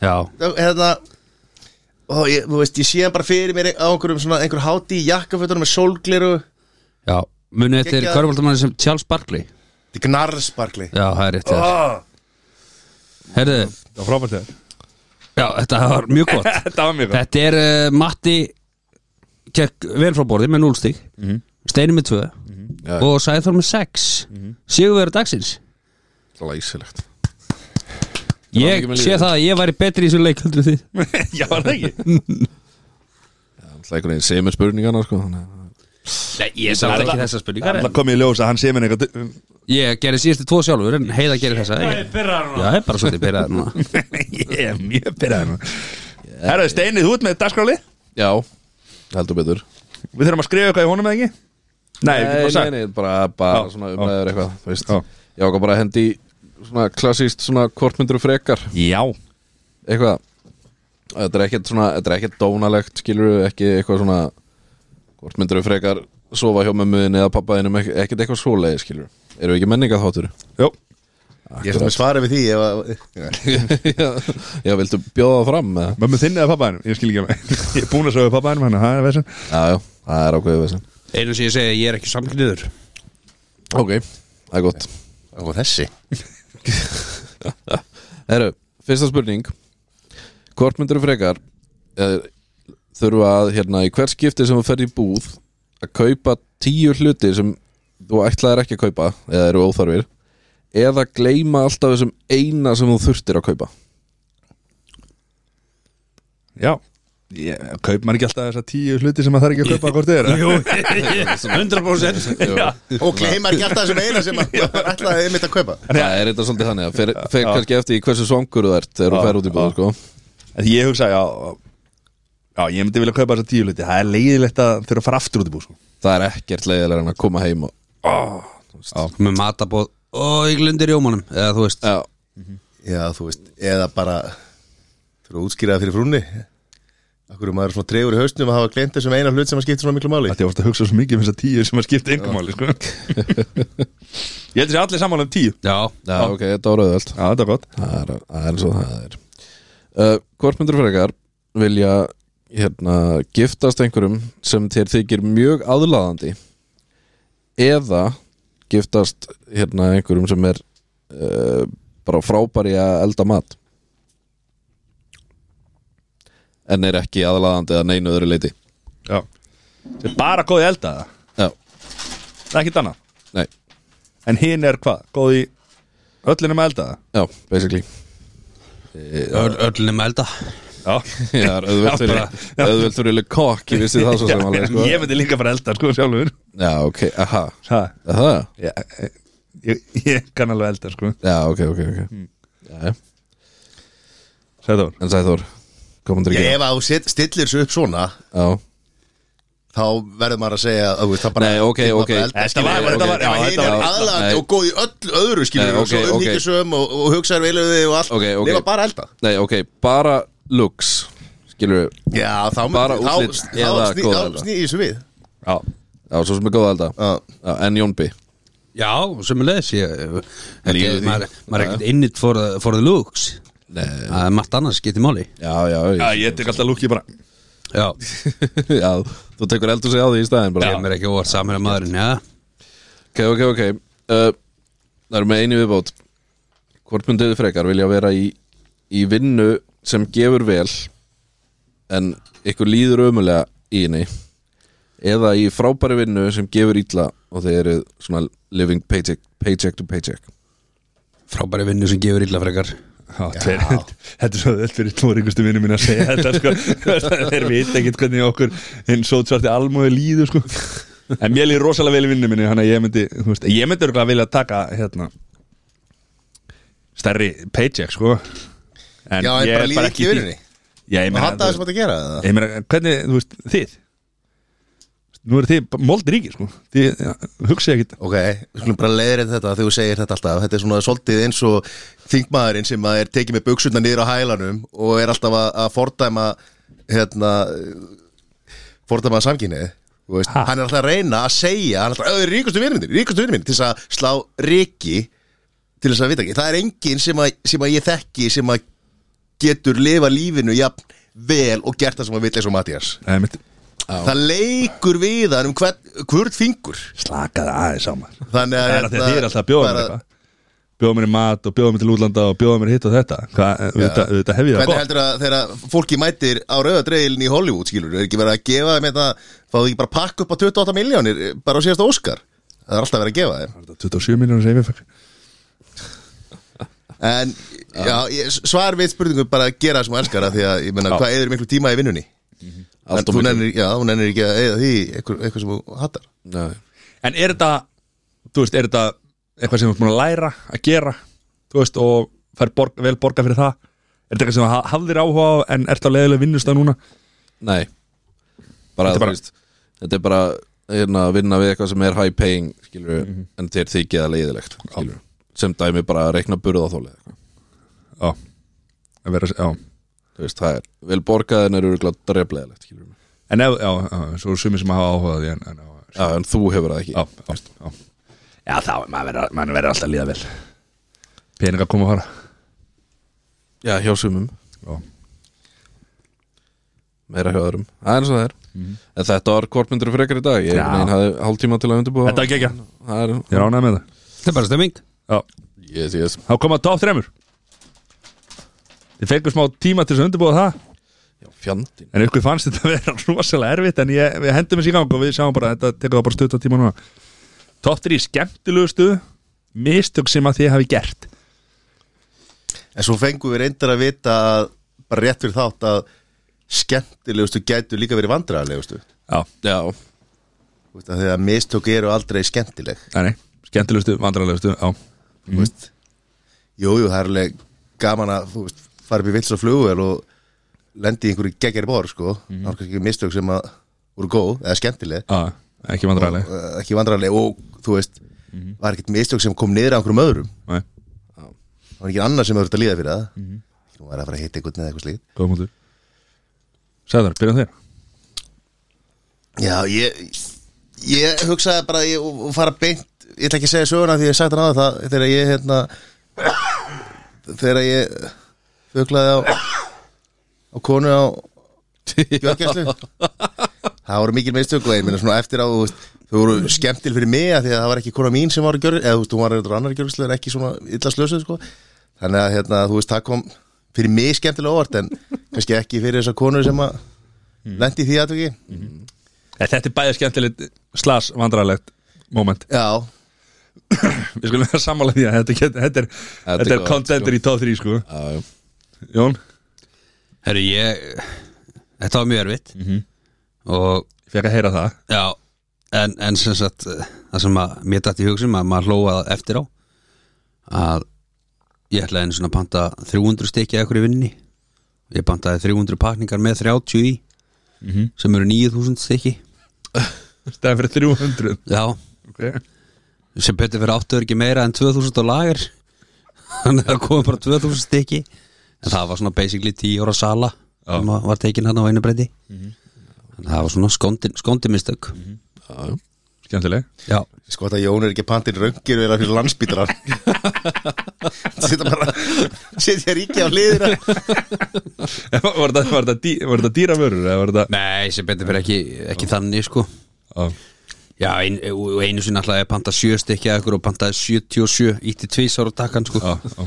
S2: Já,
S3: hérna og ég, þú veist, ég sé hann bara fyrir mér á einhverjum svona, einhver háti í jakkafötunum með sólgliru
S2: já Munið þetta er
S3: Geggjað.
S2: Köruboltamanni sem Charles Barkley
S3: þetta er gnarsparkli
S2: Já, það er rétt hjá þér. Ah. Herðu,
S1: það var frábært þér
S2: já, þetta var mjög gott
S1: Þetta var mjög gott
S2: Þetta er uh, Matti Kekk vel frá borði með 0 stík mm Steini með 2 Og Sæþór með 6 mm -hmm. Sigurverður dagsins
S4: Læsilegt
S2: Ég
S4: mikið með
S2: sé
S4: lífið.
S2: það að ég væri betri í þessu leik heldur en þið
S1: Já, var það ekki?
S4: Það er einhvern veginn semur spurningana sko þannig að-
S2: Nei, ég sagði ekki þessa spurningar
S1: Það kom í ljós að hann sé mér eitthvað
S2: Ég gerði síðustu tvo sjálfur en Heiða gerði þessa Já, ég er bara svolítið byrjað núna
S1: Ég er mjög pyrraður núna. Herðu, Steini, þú ert með dagskráli
S4: Já, heldur betur
S1: Við þurfum að skrifa eitthvað í honum eða ekki? Nei, við getum bara
S4: Nei, nei,
S1: sagt
S4: nei, bara, bara
S1: Já,
S4: svona
S1: já.
S4: umræður eitthvað þú veist.
S1: Já.
S4: Ég ákvað bara að hendi í svona klassíst svona kortmyndur frekar
S1: Já,
S4: eitthvað þetta er ekkert svona, þetta er ekkert dónalegt skilur ekki eitthvað svona hvort myndir við frekar sofa hjá mömmuðin eða pappaðinum, ekkert eitthvað svoleiði skilur eru við ekki menninga þáttur
S1: jú
S3: Ég er svona svara við því ef að-
S4: já, já, viltu bjóða það fram eða?
S1: Mömmu þinn eða pappaðinum, ég skil ekki að Ég er búin að sögja pappaðinum hann, það er vesen
S4: já, já, það er ákveðið þessi
S2: Einu sem ég segi að ég er ekki samkynniður
S4: ok, það er gott
S3: Og þessi
S4: Herru, fyrsta spurning Hvort myndir frekar eh, þurfa að hérna í hvert skipti sem þú ferð í búð að kaupa tíu hluti sem þú ætlaðir ekki að kaupa eða eru óþarfir eða gleyma alltaf þessum eina sem þú þurftir að kaupa
S1: Já Ég, kaup maður ekki alltaf þessa tíu hluti sem maður þarf ekki að kaupa hvort þið er
S2: Jú, 100%
S3: Og gleymar ekki alltaf þessum eina sem að ætlaði einmitt að kaupa
S4: Það er þetta svolítið þannig að fer, fer
S1: Já.
S4: kannski eftir í hversu svangur þú ert þegar
S1: Já,
S4: þú fer út í búð sko.
S1: En ég hugsa, já Já, ég myndi vilja kaupa þessa tíu hluti Það er leiðilegt að þurfa að fara aftur út í búð sko.
S4: Það er ekkert leiðilega en að koma heim og,
S2: Með matabóð og ég glindir jómanum eða þú veist
S4: Já,
S3: Já, þú veist, eða bara Þú að útskýra það fyrir frúnni Akkur er maður svona tregur í hausnum að hafa gleymt þessum eina hlut sem að skipta svona miklu máli
S1: Þetta ég vorst að hugsa svo mikið um þessa tíu sem að skipta engumáli sko. Ég heldur sér allir sammála um tíu Já,
S2: Já,
S4: já ok, þetta var auðvöld
S1: þetta er gott
S4: Það er, það er eins og það er uh, Hvort myndur frekar vilja hérna, giftast einhverjum sem þér þykir mjög aðlaðandi eða giftast hérna, einhverjum sem er uh, bara frábær í að elda mat en er ekki aðlaðandi að neinu öðru leiti
S1: Já Sem bara góð í elda það
S4: Já,
S1: Það er ekkert annað
S4: nei,
S1: En hinn er hvað? Góð í öllinum að elda það?
S4: já, basically
S2: öllin er með elda
S1: Já,
S4: Já, það er auðvelt
S1: Já,
S4: fyrir
S1: bara-
S4: auðvelt fyrir Le Coq, ég vissi það svo sem alveg sko.
S1: Ég myndi líka bara elda sko sjálfur
S4: Já, ok, aha,
S1: ha,
S4: aha
S1: ég, eh, ég, ég kann alveg elda sko
S4: Já, ok, ok, ok já, já.
S1: Sæður
S4: En Sæþór, komandur
S3: Ég,
S4: ekki
S3: Ef að þú set- stillir svo upp svona
S4: Já,
S3: þá verður maður að segja að, þú veist, það bara
S4: Nei, ok,
S3: það bara
S4: ok.
S3: eldast,
S1: Þetta var-
S3: skilur,
S1: þetta var-
S3: ok.
S1: já,
S3: Ef
S1: þetta
S3: hinn er
S4: var-
S3: aðlandi
S4: nei.
S3: og góð í öllu öðru skilur
S4: Nei,
S3: og svo
S4: ok, ok.
S3: umhyggjusum og, og hugsaður veluði og allt
S4: Ok, ok.
S3: nema bara elda
S4: nei, ok, bara looks Skilur við
S3: já, þá,
S4: Bara
S3: þá,
S4: útlit
S3: þá,
S4: eða
S3: sný-
S4: góð
S3: þá
S4: elda.
S3: snýði þessu við
S1: Já,
S4: Já, svo sem er góða elda
S3: Já.
S4: Já, En Jónbi
S2: Já, sem er leðis
S4: Lífið því.
S2: Maður maður er ekkert innit for, the- for the looks
S4: Nei
S2: Það er margt annars getið máli
S4: Já, já,
S1: já
S4: ég,
S1: ég tek alltaf lúkið bara
S2: Já,
S4: já Þú tekur eldur sig á því í staðin bara
S2: kemur ekki óvart samir að maðurinn Já,
S4: Ok, ok, ok uh, Það eru með einu viðbót Hvort mynduðu frekar vilja vera í, í vinnu sem gefur vel en ykkur líður ömulega í henni eða í frábæri vinnu sem gefur illa og þeir eru svona living paycheck, paycheck to paycheck
S2: frábæri vinnu sem gefur illa frekar
S1: Já, tveir, þetta er svo öll fyrir tvoringustu vinnum mín að segja þetta sko Þeir veit ekkert hvernig okkur hinn sótsvarti almóði líður sko En mér líður rosalega vel í vinnum minni Þannig að ég myndi, þú veist, ég myndi örgulega vilja taka hérna Stærri paycheck sko en
S3: já,
S1: ég er
S3: en bara líði ekki
S1: í
S3: í
S1: því.
S3: vinnunni
S1: Já, ég
S3: og
S1: meina
S3: hann það sem þetta gera eða?
S1: Ég meina, hvernig, þú veist, þið Nú eru þið moldríkir, sko Þið ja, hugsa ekki
S3: Ok, við skulum bara leiðrið þetta þegar þú segir þetta alltaf Þetta er svona svolítið eins og þingmaðurinn sem að er tekið með buksuna niður á hælanum og er alltaf að, að fordæma hérna fordæma samkynnið Þú veist,
S1: Ha?
S3: Hann er alltaf að reyna að segja hann er alltaf, "Ö, ríkustu vinnindir, ríkustu vinnindir til þess að slá ríki til þess að vita ekki, það er enginn sem að, sem að ég þekki sem að getur lifa lífinu jafn vel og gert það sem að vill eins og Mattias
S1: Nei, mitt,
S3: Það leikur við hann um hvern, hvern fingur
S1: slakaði aðeins á maður
S3: Þannig að
S1: Það er að
S3: hérna,
S1: þið er alltaf að bjóða mér
S3: bara-
S1: eitthvað Bjóða mér í mat og bjóða mér til útlanda og bjóða mér hitt og þetta Hvað, þetta, þetta hef ég það
S3: Hvernig
S1: gott
S3: heldur að þegar fólki mætir á rauðadreilin í Hollywood skilur er ekki verið að gefa þeim þetta fáðu ekki bara pakk upp á 28 miljónir eh, bara á síðasta Óskar það er alltaf verið að gefa þeim
S1: 27 miljónir sem ég fekk
S3: en já, ég- svar við spurningum bara að gera það sem þú elskar að því að ég menna
S1: Já. Mhm.
S3: hvað eður miklu tíma í vinnunni En
S4: Allt og
S3: þú
S4: mikið.
S3: nennir, já, þú nennir ekki að eða því eitthvað, eitthvað sem þú hattar
S4: Nei.
S1: En er þetta, þú veist, er þetta eitthvað sem þú ert búin að læra að gera þú veist, og fær borg, vel borga fyrir það er þetta eitthvað sem þú hafðir áhuga á en ert á leiðilega vinnustað núna
S4: Nei bara,
S1: Þetta er
S4: þú
S1: bara-
S4: veist, Þetta er bara hérna, að vinna við eitthvað sem er high paying skilur,
S1: Mhm.
S4: en þeir þykja það leiðilegt skilur, sem dæmi bara að reikna burð á þóli
S1: Já, að vera, já
S4: þú veist, það er vel borgað en er örgulega dreflegilegt skilur.
S1: En ef, já, já, svo er sumir sem hafa áhuga á því en, en, já,
S4: Já, en þú hefur það ekki
S1: já, já, já Já, þá er maður verið, maður verið alltaf að líða vel Peninga koma að fara
S4: Já, hjá sumum
S1: Já.
S4: Meira hjá öðrum Það er eins og það er En þetta var kortmyndur frekar í dag Ég
S1: Mhm. Já.
S4: neinn hafði hálftíma til að undirbúa
S1: Þetta er ekki ekki,
S4: Það er
S1: ég ránaði með það
S2: Þetta er bara stemming
S1: Já,
S4: Yes, yes
S1: þá koma top 3 Þið fengum smá tíma til þess að undirbúa það
S4: Já, fjandinn
S1: En ykkur fannst þetta vera rosalega erfitt En ég, við hendum þessi í gang og við sjáum bara Þetta tekur það bara stutt á tíma núna Top 3 skemmtilegustu Mistök sem að þið hafi gert
S3: En svo fengum við reyndar að vita að, bara rétt fyrir þátt að skemmtilegustu gætu líka verið vandræðarlegustu
S1: Já,
S4: Já,
S3: Þú veist, af því að mistök eru aldrei skemmtileg
S1: nei, nei, skemmtilegustu, vandrarlegustu Já,
S3: Þú veist, Jújú, jú, það er alveg gaman að þú veist, fara upp í vils og flugvel og lendi í einhverju geggjari bor sko. það var kannski ekki mistök sem að voru góð eða skemmtileg
S1: á, ekki vandrarleg
S3: Eh, ekki vandræðarleg og þú veist var ekkert mistök sem kom niður á einhverjum öðrum
S1: Nei,
S3: það var ekki annar sem þurfti að líða fyrir það nú var að fara að hitta einhvern eða eitthvað slíkt
S1: góð mútur Sæður, byrjum þér
S3: Já, ég, ég hugsaði bara ég, og og fara beint, ég ætla ekki að segja söguna því ég hef sagt hann á það þegar ég hérna, þegar ég fuglaði á á konu á björgjæslu það voru mikil meðstök og ég minna svona eftir á þú veist, þau voru skemmtil fyrir mig af því að það var ekki kona mín sem var í gjörgjæslu eða þú veist, hún var eitthvað annar í gjörgjæslu en ekki svona illa slösuð sko. þannig að hérna, þú veist, það kom fyrir mig skemmtilega óvart en kannski ekki fyrir þessar konur sem að lendi því aðtöki
S1: En Þetta er bæði skemmtilegt slas vandrarlegt moment
S3: Já,
S1: Við skulum vera sammála því að þetta, get, þetta er,
S4: er
S1: þetta er
S4: gott,
S1: contender í top 3 sko
S4: já, já
S1: Jón,
S2: Herru, ég Þetta var mjög erfitt
S4: Mhm.
S2: Og
S1: ég fekk að heyra það
S2: Já, en, en sem sagt eh, það sem að mér dætti í hugsun að maður hlóað eftir á að ég ætlaði einu svona að panta 300 stykki að ykkur í vinninni ég pantaði 300 pakningar með 30 í sem eru 9000 stykki
S1: Stæðan fyrir 300
S2: Já,
S1: okay.
S2: sem betur fyrir áttu er ekki meira en 2000 á lager þannig að það komum bara 2000 stykki en það var svona basically 10 ára sala sem að var tekin hann á einu breyti þannig að það var svona skondin, skondimistök
S1: Skemmtileg
S2: Já
S3: sko að Jón er ekki pantinn röngir við erum fyrir landsbítrar Sitja bara Sitja ríki á liðina
S1: En Var þetta- var þetta dý- var þetta dýra vörur? eða Var þetta
S2: Nei, sem betur fyrir ekki, ekki þannig sko
S1: Já.
S2: Já, ein, og einu sinni alltaf ég panta sjö stykki að ykkur og pantaði 77 ítti tvísar og takkan sko
S1: Já, já.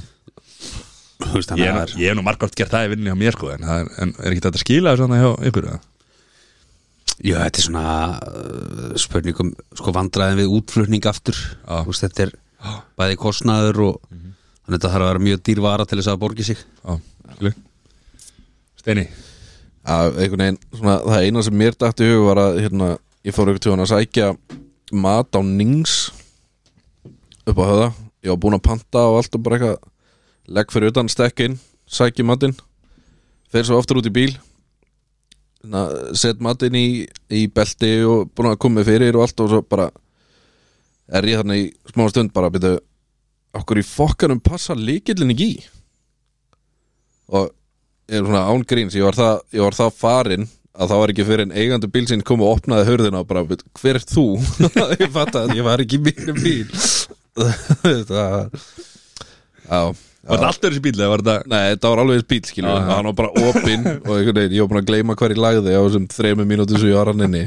S2: Þú veist,
S1: Ég
S2: þannig
S1: er
S2: að
S1: nú-
S2: það er-
S1: ég hef nú margótt gert það í vinninni á mér sko En, það er, en er ekki þetta að skila þessu þannig hjá ykkur? eða?
S2: Já, þetta er svona uh, spurningum sko vandræðin við útflutning aftur Þú veist, þetta er bæði kostnaður og þannig að þetta þarf að vera mjög dýr vara til þess að það borgi sig
S1: Já, skilur Steini
S4: að einhvern veginn, svona, það eina sem mér dætti í hug var að hérna, ég fór ykkur til hann að sækja mat á Nings upp á höða ég var búinn að panta og allt og bara eitthvað legg fyrir utan, stekk inn, sækja matinn fer svo aftur út í bíl Na, set matinn í, í belti og búinn að koma mér fyrir og allt og svo bara er ég þarna í smá stund bara að byrja okkur í fokkanum passa líkillin ekki í og ég er svona án gríns, ég var það, ég var það farin að það var ekki fyrir en eigandi bílsinn kom og opnaði hurðina og bara, "Veit, hver er þú? ég fatt að ég var ekki í mínum bíl það já,
S1: Var þetta alltaf þessi bíl eða var þetta
S4: nei, þetta var alveg þess bíl skilur og hann var bara opinn og einhvern veginn, ég var búin að gleyma hver ég lagði á þessum þremur mínútur sem ég var hann inni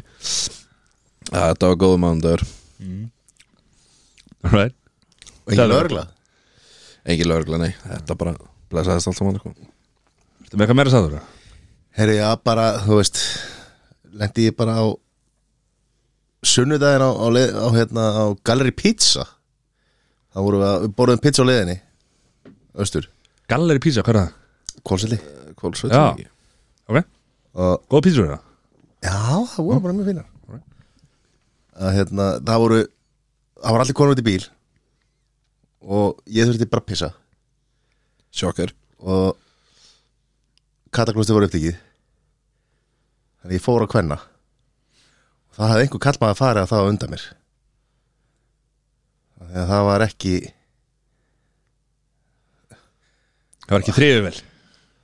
S4: Já, þetta var góðum ándagur
S1: right.
S3: Og ekki nörgla
S4: engin lögregla, nei, þetta bara blessaðist allt saman sko.
S1: Þetta með eitthvað meira sáður
S3: Herri, já, bara, þú veist Lendi ég bara á Sunnudaginn á, á, leið, á, hérna, á Gallery Pizza Það vorum við að, við borðum pizza á leiðinni Östur,
S1: Galleri písa, hvað er það?
S3: kólseldi
S4: Kólsveit
S1: Já.
S4: ekki.
S1: Ok,
S3: Og
S1: góð písur það?
S3: það voru bara mjög fínar að, hérna, það voru það voru allir konum út í bíl og ég þurfti bara að pissa
S4: Sjokkar
S3: og kataklústi voru upptikið þannig ég fór að kvenna og það hafði einhver kallmaði að fara að það á undan mér Af því að það var ekki
S1: Það var ekki þriðið vel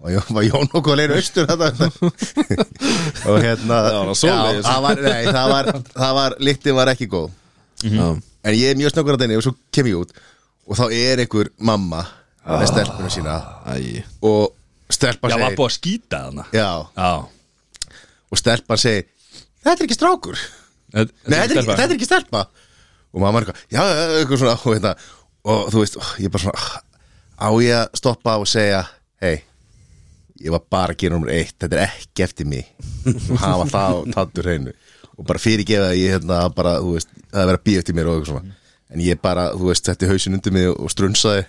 S3: og Jón, var Jón okkur að leira austur þetta og hérna
S4: Það var svoleiðis.
S3: já, það var, nei, það var, það var líktin var ekki góð en ég er mjög snöggur að þenni og svo kem ég út og þá er einhver mamma með stelpunum sína
S4: Æ
S3: og stelpan
S1: Já, var
S3: segir
S1: búið að skýta þarna
S3: já,
S1: Já
S3: og stelpan segir þetta er ekki strákur Nei, þetta er, ekki, þetta er ekki stelpa Og mamma er eitthvað, já, já, já, eitthvað svona og, hérna, og þú veist, ég er bara svona ah, Á ég að stoppa og segja Hei, ég var bara að gera nummer eitt Þetta er ekki eftir mig Og hafa það á tattur hreinu Og bara fyrirgefa að ég hérna bara, þú veist Það er verið að býja eftir mér og eitthvað svona En ég bara, þú veist, setti hausin undir mig og strunsaði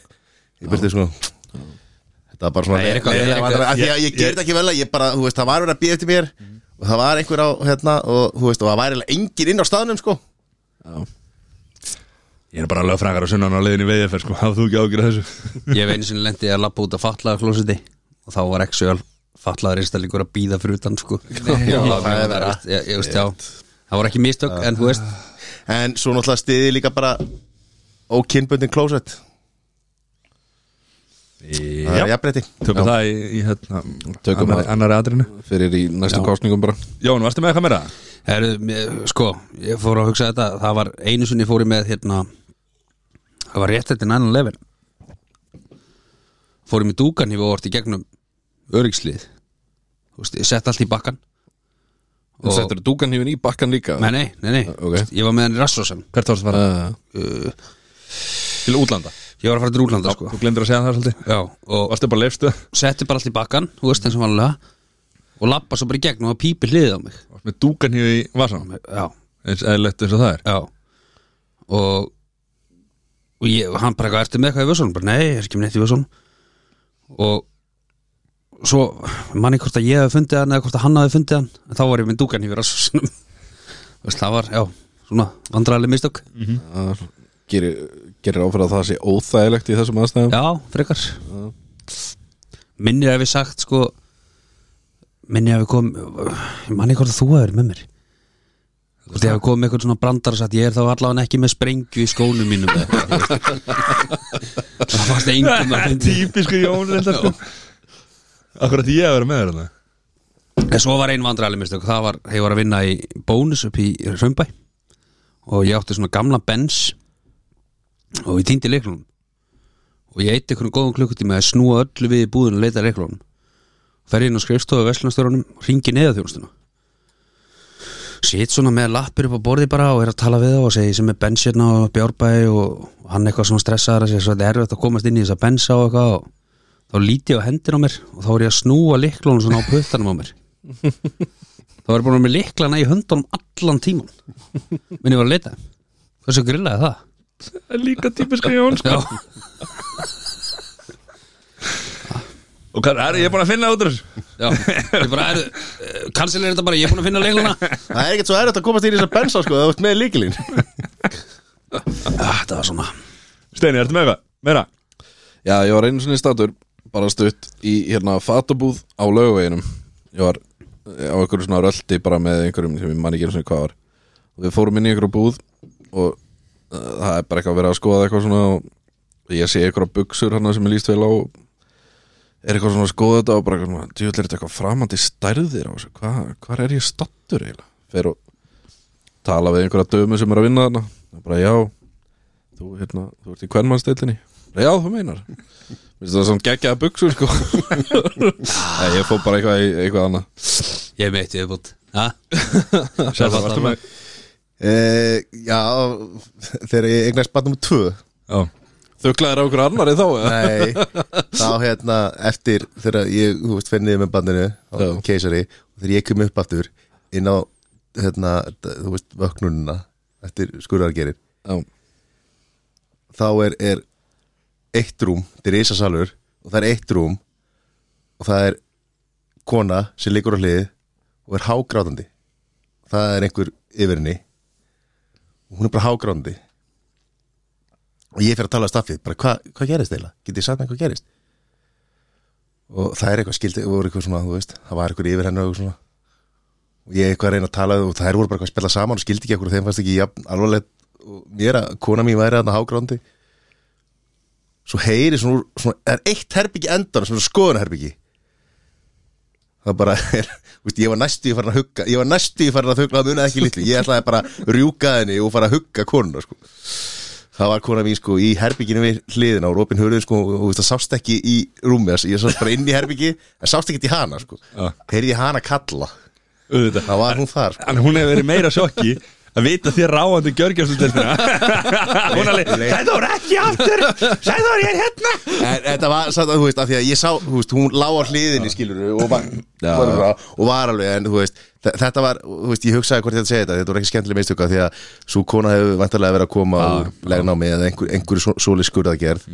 S3: Ég byrti sko. svona Þetta var bara svona
S2: Það er eitthvað- Mhm.
S3: leiðilega
S2: er
S3: vandræði, af því að
S1: ég-
S3: Ég gerði ekki vel að ég bara, þú veist, það var verið að býja eftir mér Og það var einhver á, hérna, og þú veist, og það var eiginlega engin inn á staðnum, sko
S1: Ég er bara lögfræðingar og sunnan á leiðinni veiðiðferð sko Hafðu þú ekki ágjur að þessu
S2: Ég hef einu sinni lendið að lappa út af fatlaðarklósiti og þá var ekki sjálf fatlaðar einstaklingur að býða fyrir utan sko Já,
S3: það er
S2: það
S3: verra.
S2: Ég ég veist, já Það voru ekki mistök, en þú veist
S3: En svo náttúrulega stiði líka bara ókinnbundin klósett Það er
S1: Já
S3: jafnrétti
S1: Tökum það í, í hérna
S4: Tökum
S1: annarri-
S4: það.
S1: Annarri atrinu
S4: Fyrir í næstu kostningum bara
S1: Jón, varstu með eitthvað meira?
S2: Heru, mér, sko, ég fór að hugsa þetta það var einu sinni fór ég með hérna það var rétt eftir 9-11 fór ég með dúkan hefur orðið í gegnum öryggslið Þú veist, ég sett allt í bakkan
S4: Þú settur dúkan hífin í bakkan líka
S2: nei, nei, nei, nei.
S4: Ok.
S2: Þú veist, ég var með hann í Rassosen
S1: Hvert varstu að fara?
S4: uh,
S1: Til útlanda
S2: ég var að fara til Rúlanda sko.
S1: Þú glemdur að segja það svolítið
S2: Já, og
S1: Varstu bara leifstu
S2: setti bara allt í bakkan þú veist, eins og vanlega og lappa svo bara í gegnum og það pípi hliðið á mig
S1: Varstu með dúkan hér í vasan
S2: já,
S1: Eins eðlilegt eins og það er
S2: Já Og Og ég, og hann bara eitthvað ertu með eitthvað í vössunum bara, Nei, ég er ekki með neitt í vössunum Og Svo manni hvort að ég hafi fundið hann Eða hvort að hann hafi fundið hann En þá var ég með dúkan yfir rassunum Veist, það var, já, svona vandræðileg mistök
S4: uh, gerir, gerir áfæra að það sé óþægilegt í þessum aðstæðum
S2: Já, frekar Minni að við sagt, sko Minni að við kom Manni hvort að þú hefur með mér Hvort ég hafi komið með eitthvað svona brandar og sagt ég er þá allavega ekki með sprengju í skónum mínum eða eitthvað, þú veist. Það fannst engum að fyndi
S1: Típisku Jón reyndar sko Akkur að ég að vera með þér þarna
S2: En svo var ein vandræðaleg mistök Það var, ég var að vinna í bónus upp í Römbæ Og ég átti svona gamla bens Og ég týndi leiklunum Og ég eitt einhvern góðum klukkutíma að snúa öllu við í búðinu að leita að leiklunum Fer inn á skrifstofu Veslanstörunum Ringi neða þjónustuna Sitt svona með lappir upp á borði bara og er að tala við þá og segi sem er bens hérna á Bjárbæ og hann eitthvað svona stressaðar að segja svo þetta er erfitt að komast inn í þessa bensa og eitthvað og þá líti ég á hendina á mér og þá er ég að snúa liklunum svona á puttanum á mér þá er ég búin að vera með liklana í höndunum allan tíman minn ég var að leita hversu grillaði það?
S5: Líka típiska Jón
S2: Já,
S1: Og hvað er ég er búin að finna út úr þessu?
S2: já, ég bara er kannsilega er þetta bara, ég er búin að finna leiklana
S3: Það er ekkert svo erfitt að komast inn í þessar bensa sko, það vart með líkilinn
S2: ah, það var svona
S1: Steini, ertu með eitthvað? Meira?
S4: Já, ég var einu sinni statur bara stutt í hérna fatabúð á laugaveginum ég var eh, á einhverju svona röldi bara með einhverjum sem ég man ekki einu sinni hvað var og við fórum inn í einhverju búð og uh, það er bara eitthvað verið að skoða eitthvað svona og ég sé einhverja buksur hann sem er líst vel á er eitthvað svona að skoða þetta og bara eitthvað svona djúll er þetta eitthvað framandi stærðir á þessu Hva, hvar er ég stattur eiginlega fer og tala við einhverja dömu sem er að vinna þarna og bara já, þú, hérna, þú ert í kvennmannsdeildinni já, þú meinar Veistu það er svona geggjaða buksur sko Nei, ég fór bara eitthvað, í- eitthvað annað
S2: ég er meitt, ég er búin ha?
S1: Sæður, varstu með
S3: uh, Já, þegar ég eignast batnum tvö
S1: Já
S4: Þuglaðir á okkur annari þá eða?
S3: Nei, þá hérna eftir þegar ég, þú veist, fenniði með bandinu á
S4: Já.
S3: keisari og þegar ég kem upp aftur inn á, hérna, þú veist, vöknunina eftir skurðargerir
S4: Já,
S3: þá er, er eitt rúm, þetta er ísasalur og það er eitt rúm og það er kona sem liggur á hliði og er hágrátandi það er einhver yfir henni og hún er bara hágrándi og ég fyrir að tala að staffið bara hva, hvað gerist eiginlega, getið sagt með hvað gerist og það er eitthvað skildi og voru eitthvað svona, þú veist, það var eitthvað yfir henni og eitthvað svona og ég eitthvað að reyna að tala við og þær voru bara eitthvað að spila saman og skildi ekki ekkur og þeim fannst ekki jafn, alvarlegt og mér að kona mín væri þarna hágrándi svo heyri svona, úr- svona er eitt herbyggi endan svona skoðunherbyggi það bara er, veist, ég var næstu í farin að hugga ég var næstu í farin að hugga, það munaði ekki litlu ég ætlaði bara að rjúka henni og fara að hugga konuna sko. það var kona mín sko í herbygginu við hliðina og Robin hurðin sko og þú veist, það sást ekki í rúmi þess- ég sást bara inn í herbyggi, en sást ekki í hana sko,
S1: Já.
S3: heyrði ég hana kalla
S1: auðvitað
S3: það var hún þar sko.
S1: En hún hefur verið meira sjokki að vita þér ráðandi gjörgjörnslutelfina Hún alveg, Sæður ekki aftur Sæður ég er hérna
S3: En þetta var, samt að, þú veist, af því að ég sá, þú veist, hún lá á hliðinni, skilur og var, var, var, og var alveg, en þú veist, þe- þetta var, þú veist, ég hugsaði hvort ég ætti að segja þetta, þetta voru ekki skemmtileg mistöka því að svo kona hefur vantarlega verið að koma úr legnámi eða einhver, einhverju sóli skurða gerð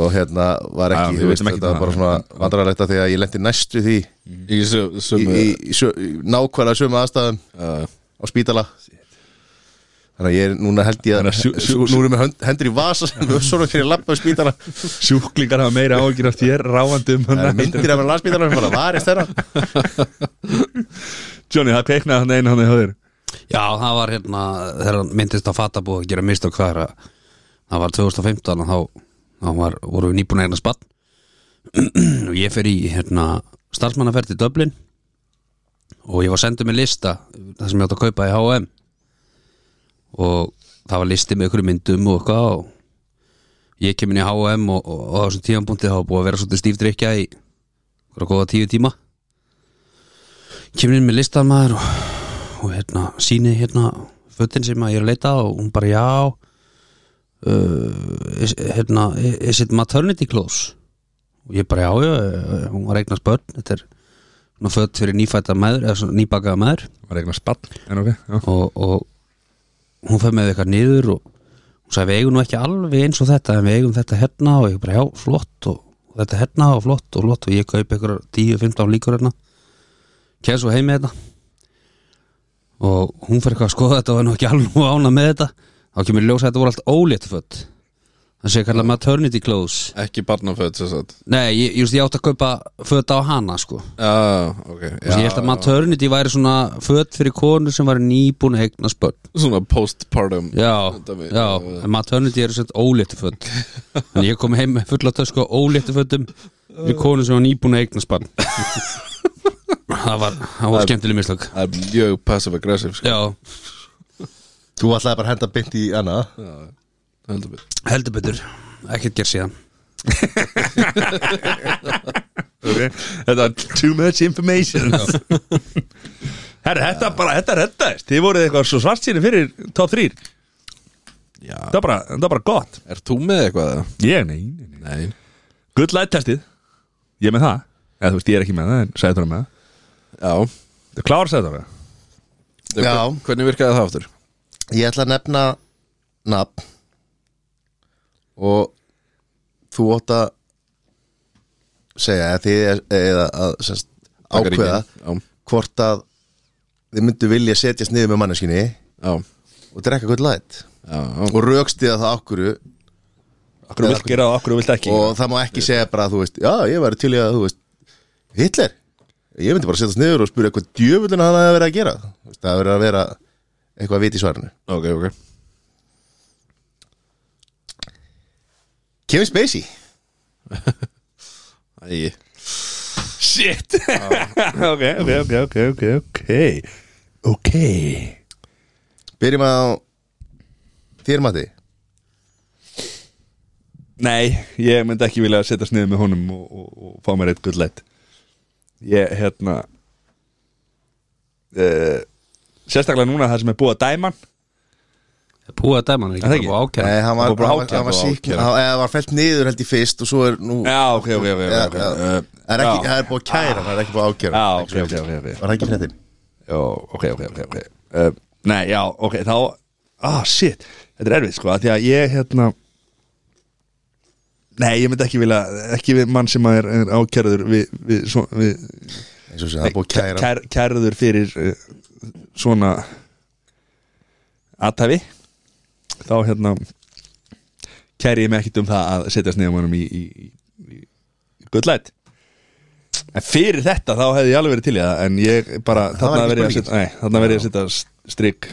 S3: og hérna var
S1: Já,
S3: ekki,
S1: við vitum
S3: þú veist,
S1: ekkert
S3: þetta var
S1: um
S3: bara
S1: það.
S3: svona vandrarlegt af því að ég lendi næstu því í,
S4: Í sö- sömu
S3: í, í, sjö, í nákvæmlega sömu aðstæðum
S4: Já.
S3: á spítala Þannig að ég er núna held ég
S1: Þannig að
S3: að,
S1: sjú- sjú-
S3: nú erum við hönd- hendur í vasa sem við svona fyrir lappa á spítala
S1: Sjúklingar hafa meira ágjur af þér ráðandi um
S3: Það eru
S1: hann
S3: myndir af hann landsbytarnar bara varist þeirra
S1: Johnny, það peknaði hann einu hann hjá þér
S2: Já, það var hérna þegar hann myndist á fatabúð að gera mistök þar að- það var 2015 og þá, þá var, voru við nýbúin að eigna spann og ég fer í hérna starfsmannaferð í Dublin og ég var sendið með lista það sem ég átt að kaupa í H&M og það var listi með ykkur myndum og eitthvað og ég kem inn í H&M og, og, og á þessum tímanbúndi þá var búið að vera svolítið stífdrykja í hverja góða tíu tíma kemur inn með listan maður og og hérna, síni hérna fötin sem að ég er að leita að og hún bara já uh, is, hérna, is it maternity clothes og ég bara já, já, já, já, hún var að eignast börn þetta er svona fött fyrir nýfætta maður eða svona nýbakaða maður
S1: Var eignar spann, en ok já.
S2: og, og hún fyrir með eitthvað niður og hún sagði við eigum nú ekki alveg eins og þetta en við eigum þetta hérna og ég bara já, flott og, og þetta hérna og flott og flott og ég kaup ykkur 10-15 líkur hérna kemst svo heim með þetta og hún fyrir eitthvað að skoða þetta og er nú ekki alveg ána með þetta þá kemur ljósa að þetta voru allt ólétt fött það sé kallað maternity clothes
S4: Ekki barnaföld sem sagt
S2: nei, ég, ég, veist, ég átt að kaupa föt á hana sko
S4: Já, ok
S2: Já, ég held að maternity væri svona föt fyrir konu sem var nýbúin að eigna spönn
S4: Svona postpartum
S2: Já,
S4: Dæmi.
S2: já, en maternity eru sett óléttu föt En ég kom heim með fulla tösku á óléttu fötum Við konu sem var nýbúin að eigna spann Það var, það var skemmtileg mislögg
S4: Það er mjög passive-aggressive sko.
S2: Já,
S3: Þú ætlaði bara að henda beint í Anna
S4: heldur við
S2: heldur betur, ekkert gerð síðan
S1: okay. Þetta var too much information Herra, þetta bara, þetta reddaðist Þið voruð eitthvað svo svart síni fyrir top 3
S4: Já.
S1: Það var bara, það var bara gott
S4: Er þú með eitthvað? eða?
S1: Ég, nei, nei, nei.
S4: Nei
S1: Good light testið Ég er með það Eða þú veist, ég er ekki með það, en sæður með það
S4: Já,
S1: Það klára sæður með það
S4: Þau,
S3: Já.
S4: hvern- Hvernig virkaði það aftur?
S3: Ég ætla að nefna nafn og þú átt að segja að þið er, eða að semst,
S4: Taka
S3: ákveða
S4: ríkinn. Já,
S3: hvort að þið myndu vilja setjast niður með manneskinni
S4: já,
S3: og drekka gull light
S4: já, já.
S3: og raukstiða það ákvöru
S1: Akkur vilt gera það, akkur vilt ekki
S3: og það má ekki segja bara að þú veist já, ég væri til í að þú veist Hitler, ég myndi bara að setjast niður og spyrja hvað djöfullin hann að vera að gera Þú veist, það verður að vera eitthvað að vita í svarinu
S4: Ok, ok
S3: Kevin Spacey
S4: Æ,
S1: Shit Ok, ok, ok, ok, ok Ok, ok
S3: Byrjum á þér mati
S1: Nei, ég myndi ekki vilja að setja sniðið með honum og, og, og fá mér eitt good light Ég, hérna uh, Sérstaklega núna það sem er búið að dæma hann.
S2: Búið að dæma hann er
S1: Það
S2: ekki
S1: ekki?
S2: bara búið að
S3: Nei,
S2: ákæra
S3: hann
S1: Það
S3: var,
S1: var bara
S3: hann var,
S1: ákærður
S3: hann var
S1: og
S3: sík
S1: ákærður.
S3: hann, eða var felt niður held ég fyrst og svo er nú
S1: Já, ok, ok, ok,
S3: Já,
S1: ok,
S3: já.
S1: ok.
S3: það er,
S1: já.
S3: ekki, það er búið að kæra, það er ekki búið
S1: Já, ok, ok, ok, ok
S3: að ágjöra Var það ekki fréttin?
S1: Jó, ok, ok, ok, ok uh, Nei, já, ok, þá Ah, shit, þetta er erfið, sko af Því að ég, hérna Nei, ég myndi ekki vilja Ekki við mann sem er, er ákjörður Við, við, svo, við
S3: Eins og sem það er búið að kæra
S1: kær, Kærður fyrir uh, svona aðtæfi þá hérna kæri ég mig ekkit um það að setjast niður mannum í, í, í, í gullæt en fyrir þetta þá hefði ég alveg verið til í það en ég bara,
S3: var
S1: þarna
S3: ekki
S1: verið ég að
S3: spurningin.
S1: setja nei, þarna verið ég að setja strik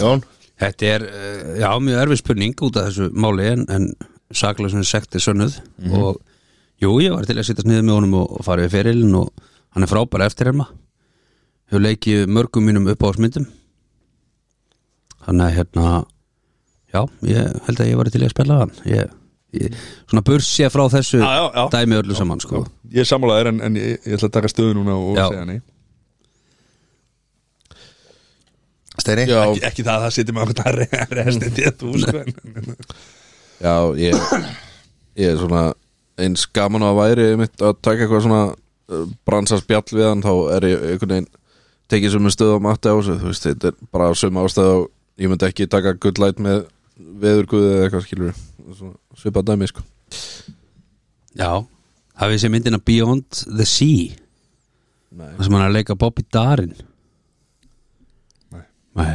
S3: Jón,
S2: Þetta er, eh, já, mjög erfið spurning út af þessu máli en, en saklega sem sekti sönnuð
S1: Mhm.
S2: og jú, ég var til að sittast niður með honum og, og fara við ferilin og hann er frábæra eftir herma hefur leikið mörgum mínum upp á smyndum þannig að hérna já, ég held að ég var til að spila hann ég, ég, svona bursja frá þessu
S1: Já, já, já.
S2: dæmi öllu saman sko.
S1: ég er sammálaður en, en ég, ég ætla að taka stöðu núna og
S2: Já.
S1: segja nei
S3: Steini
S4: Já,
S1: ekki, ekki það að það setja mig á þetta resti til þú sko en- en-
S4: já, ég Ég er svona eins gaman að væri mitt að taka eitthvað svona uh, bransaspjall við hann, þá er ég einhvern veginn tekið sem er stöð á matta á þessu þú veist, þetta er bara á sömu ástæð og ég myndi ekki taka gullæt með veðurguði eða eitthvað skilur svipað dæmi, sko
S2: já, hafið sér myndina Beyond the Sea
S4: Nei.
S2: þar sem hann er að leika Bobby Darin
S1: Nei.
S2: Nei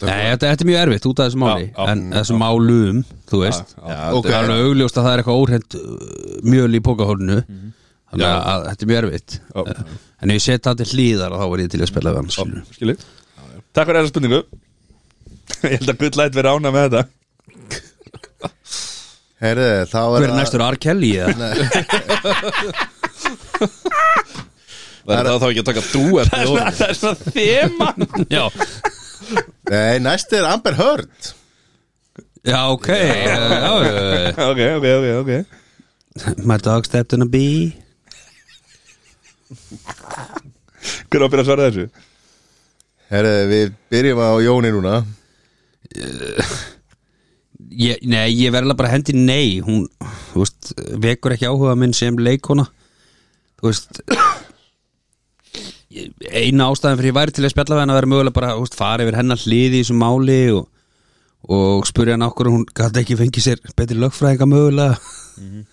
S2: Nei, þetta, þetta er mjög erfitt út af þessu máli
S1: Já, já,
S2: en þessu málum, þú veist
S1: já,
S3: ok.
S2: það er alveg augljóst að það er eitthvað óhreint uh, mjöl í pókahornu þannig að, að þetta er mjög erfitt
S1: Mhm.
S2: Eh,
S1: Já.
S2: en ef ég set það til hlýðar þá var ég til að spila við hann skilur.
S1: skilu Takk fyrir þessa spurningu Ég held að Good Light veri ána með þetta
S3: Heyrðu, þá er
S2: Hver er næstur R. Kelly? eða?
S4: Það er það þá ekki að taka dúett með honum
S5: Það er svona þema
S2: já,
S3: Nei, næst er Amber Heard
S2: já, ok já, já, já.
S1: Ok, ok, ok, ok
S2: My dog stepped on a bee
S1: Hver á að byrja að svara þessu?
S3: Heyrðu, við byrjum á Jóni núna
S2: ég, Nei, ég verðilega bara hendi nei Hún, þú veist, vekur ekki áhuga minn sem leikona Þú veist ég- Eina ástæðan fyrir ég væri til að spjalla við hann að vera mögulega bara, þú veist, fara yfir hennar hliði í þessu máli og, og spurja hann okkur hún gæti ekki fengið sér betri lögfræðinga mögulega
S1: Mhm.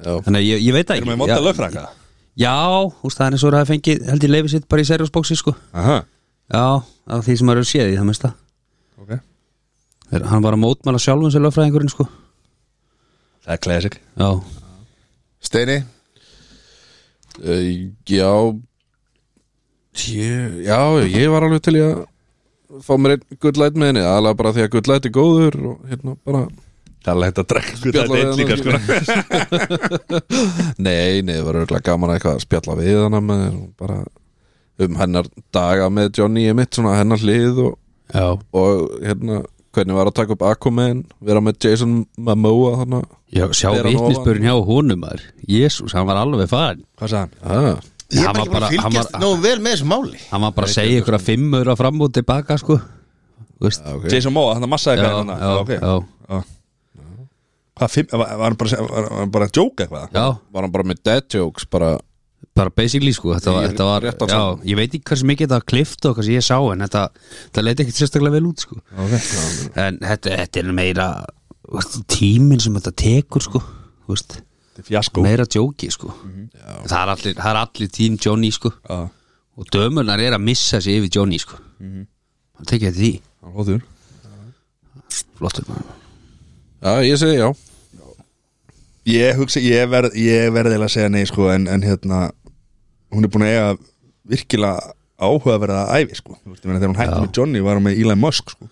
S4: Já,
S2: Þannig að ég, ég veit það
S1: Erum
S2: ekki
S1: við móta
S2: Já,
S1: lögfrænga?
S2: Já, þú veist, það er eins og það er fengið held ég leifið sitt bara í serjósbóksi, sko
S1: Aha,
S2: Já, af því sem maður er séð í það mesta
S1: ok
S2: Þegar Hann var að mótmæla sjálfum sér lögfræðingurinn, sko
S1: Það er classic
S2: Já,
S3: Steini,
S4: uh, já ég, Já, ég var alveg til í að fá mér einn gullæt með henni aðalega bara því að gullæt er góður og hérna bara
S1: Það er hægt að drekka Good Light
S4: Spjalla
S1: eitt
S4: við
S1: líka sko
S4: hana, sko. Nei, nei, það var örgulega gaman að eitthvað að spjalla við hana með þér og bara um hennar daga með Johnny Emmett, svona hennar hlið og,
S2: já,
S4: og hérna hvernig var að taka upp Aquaman, vera með Jason Momoa þarna
S2: Já, sjá
S4: Bera hann
S2: vittnisspörun hjá honum maður Jésús, hann var alveg farin
S1: Hvað sagði hann?
S4: ah,
S3: ég
S2: Hann
S3: er bara
S2: var bara-
S3: ekki búin að
S2: hann var-
S3: fylgjast nógu vel með þessu máli
S2: Hann var bara að segja ykkur að fimmur að fram og tilbaka sko Þú Veist,
S4: okay.
S1: Jason Moa, hann að massaði
S2: já,
S1: hvað hann
S2: já,
S1: ok
S2: já,
S1: Hvað, fimm, var, var hann bara, að segja- var, var hann bara að joke eitthvað?
S2: já,
S4: Var hann bara með dead jokes bara,
S2: bara basically sko Þetta var,
S4: Ég-
S2: þetta var
S4: réttan
S2: já, ég veit ekki hversu mikið þetta klift og hversu ég sá en þetta, þetta leit ekkert sérstaklega vel út sko
S1: Ok
S2: En þetta, þetta er meira þú veist, tíminn sem þetta tekur sko þú veist,
S1: Þetta er fjasko
S2: meira djóki sko það, er allir, það er allir tím Johnny sko
S1: Já,
S2: og dömurnar er að missa sig yfir Johnny sko mm -hmm. tekja því,
S1: hann hóður
S2: flottur maður
S4: Já, ég segi já
S1: Ég hugsa, ég verð, ég verð eiginlega að segja nei sko en, en hérna Hún er búin að eiga virkilega áhugaverða ævi sko Þú veist, ég meina þegar hún hætti
S2: Já.
S1: með Johnny var hún með Elon Musk sko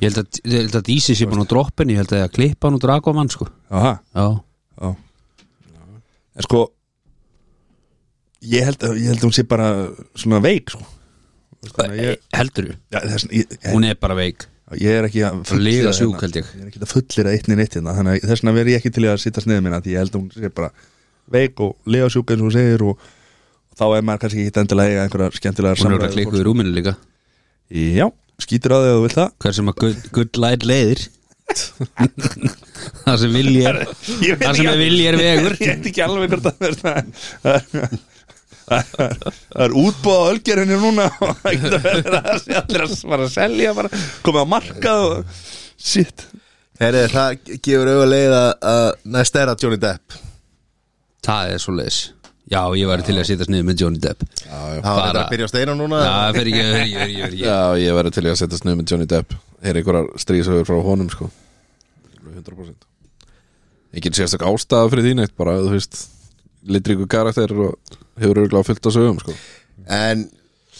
S2: Ég held að, ég held að Dísi sé búin að droppin Ég held að ég að klippa hann og draga mann sko
S1: Aha.
S2: Já,
S1: Já. En sko ég held, að- ég held að hún sé bara svona veik sko. Veist, þannig að ég,
S2: Eh,
S1: Eh.
S2: heldur þú
S1: ja, þess, ég,
S2: Hún er bara veik
S1: ég er ekki að
S2: Lyga
S1: fullyrða
S2: sjúk,
S1: hérna.
S2: held ég.
S1: er ekki að fullir að eitt niður eitt hérna þannig að þess vegna verð ég ekki til í að sitta sniðið minna því ég held að hún sé bara veik og lega sjúk eins og hún segir og, og þá er maður kannski ekki endilega að eiga einhverja skemmtilega
S2: Hún er að klikku í rúminu líka
S1: Já, skýtur á þig að þú vilt það
S2: Hver sem að good, good light leiðir Það sem vilji er
S1: Ég veit
S2: Það sem
S1: ekki-
S2: er vilji er vegur
S1: Ég veit ekki alveg hvort það er það er- það er- það er útbúð á ölgerinu núna og það getur verið að það sé allir að svara að selja bara komið á markað og shit
S3: Heyrðu, það gefur auðvitað leið að- að næst er að Johnny Depp
S2: Það er svo leiðis Já, ég var til að sitja sniður með Johnny Depp
S3: Það var
S2: Bara-
S3: þetta að byrja á steina núna
S2: Já, fyrir ég, fyrir ég, fyrir ég, fyrir ég
S4: Já, ég verður til í að setja snuð með Johnny Depp Heyri einhverjar stríðsögur frá honum sko Alveg 100% Engin sérstak ástæða fyrir þín eitt bara, þú veist Litríku karakter og hefur örgulega fullt að sögum sko
S3: En,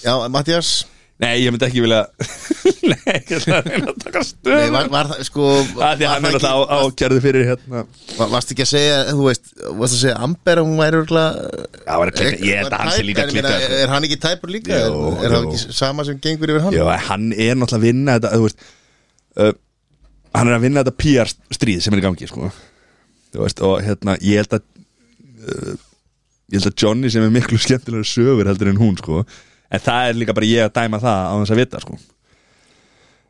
S3: já, Mattias
S1: Nei, ég myndi ekki vilja Nei, ég ætla að reyna að taka
S3: Nei,
S1: stöðu
S3: var, var það, sko
S1: Það því að
S3: var
S1: hann er
S3: ekki-
S1: alltaf ákjörðu fyrir hérna
S3: var- Varst ekki að segja, þú veist Varst að segja Amber að hún væri örgulega
S1: Það var að klika, ég held að hann sé líka að klika
S3: Er eh, hann ekki tæpur líka?
S1: Jú,
S3: er er hann
S1: jú.
S3: ekki sama sem gengur yfir hann?
S1: Já, hann er náttúrulega að vinna þetta þú veist, uh, Hann er að vinna þetta PR stríð sem er í gangi sko. Þú veist, og hérna ég held að uh, ég held að Johnny sem er miklu skemmtilega sögur heldur en hún sko. en það er líka bara ég að dæma það á þess að vita sko.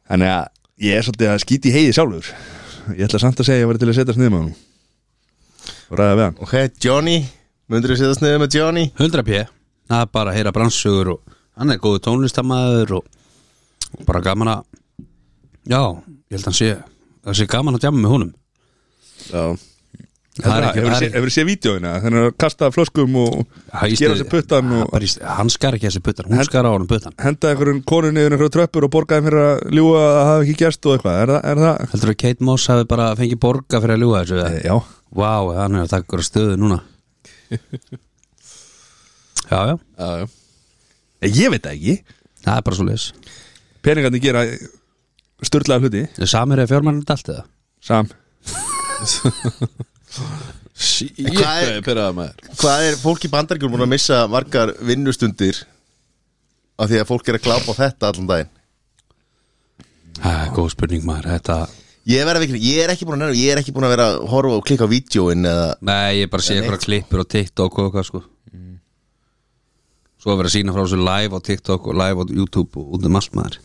S1: þannig að ég er svolítið að skýti í heiði sjálfur ég ætla samt að segja að ég var til að setja sniðum á hann og ræða við hann
S3: Ok, Johnny Mundur þú setja sniður með Johnny?
S2: 100 p Það er bara að heyra bransugur og hann er góðu tónlistamæður og, og bara gaman að Já, ég held að hann sé það sé gaman að djama með honum
S4: Já,
S2: Það er ekki,
S1: Hefur
S2: það er
S1: séð- hefur séð vídjóina þannig að kasta flöskum og
S2: ekki
S1: gera sér puttan og
S2: Hann skar ekki þessi puttan, hún skar á honum puttan
S1: henda einhverjum konu niður einhverjum tröppur og borgaði fyrir að ljúga að það hafi ekki gerst og eitthvað, er það? Er það?
S2: Heldur að Kate Moss hafi bara fengið borga fyrir að ljúga þessu eða?
S1: Já,
S2: Vá, hann er að taka ykkur stöðu núna Já, já,
S4: já, já
S1: Eh, ég veit það ekki
S2: það er bara svo leis
S1: peningarnir gera styrlaða hluti
S2: Samir er fjármennið allt eða
S1: sam,
S4: Sí,
S3: En
S4: ég
S3: hvað er-
S4: hvað er pyrraða maður
S3: Hvað er fólk í bandaríkjum búin að missa margar vinnustundir af því að fólk er að glápa á þetta allan daginn?
S2: Það er góð spurning maður, þetta
S3: Ég, verð að viðurkenna, ég er ekki búin að nefna, ég er ekki búin að vera að horfa og klikka á vídjóin eða
S2: Nei, ég bara sé eitthvað klippur á TikTok og eitthvað sko Svo að vera að sína frá þessu live á TikTok og live á YouTube og út um allt maður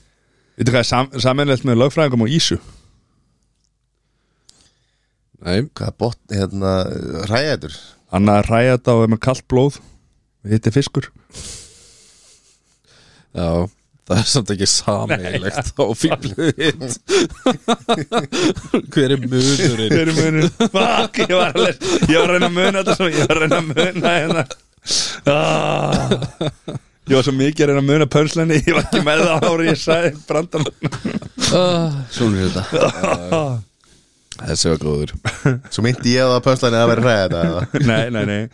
S1: veitu hvað er sam, samanlegt með lögfræðingum og Ísu
S4: Nei,
S3: hvað bot, hérna, hræðætur
S1: annað að ræja þetta og er með kallt blóð hitti fiskur
S4: já Það er samt ekki sameigilegt á fíblið hitt Hver er munurinn?
S1: Hver er munur? Fuck, ég var alveg ég var að reyna að muna þetta svo, ég var að reyna að muna hérna ah, ég var svo mikið að reyna að muna pönslenni, ég var ekki með það ári ég sagði brandan
S2: Svona er þetta
S4: Þessi var góður
S3: Svo myndi ég á það pönslæni að vera hræðæta
S1: nei, nei, nei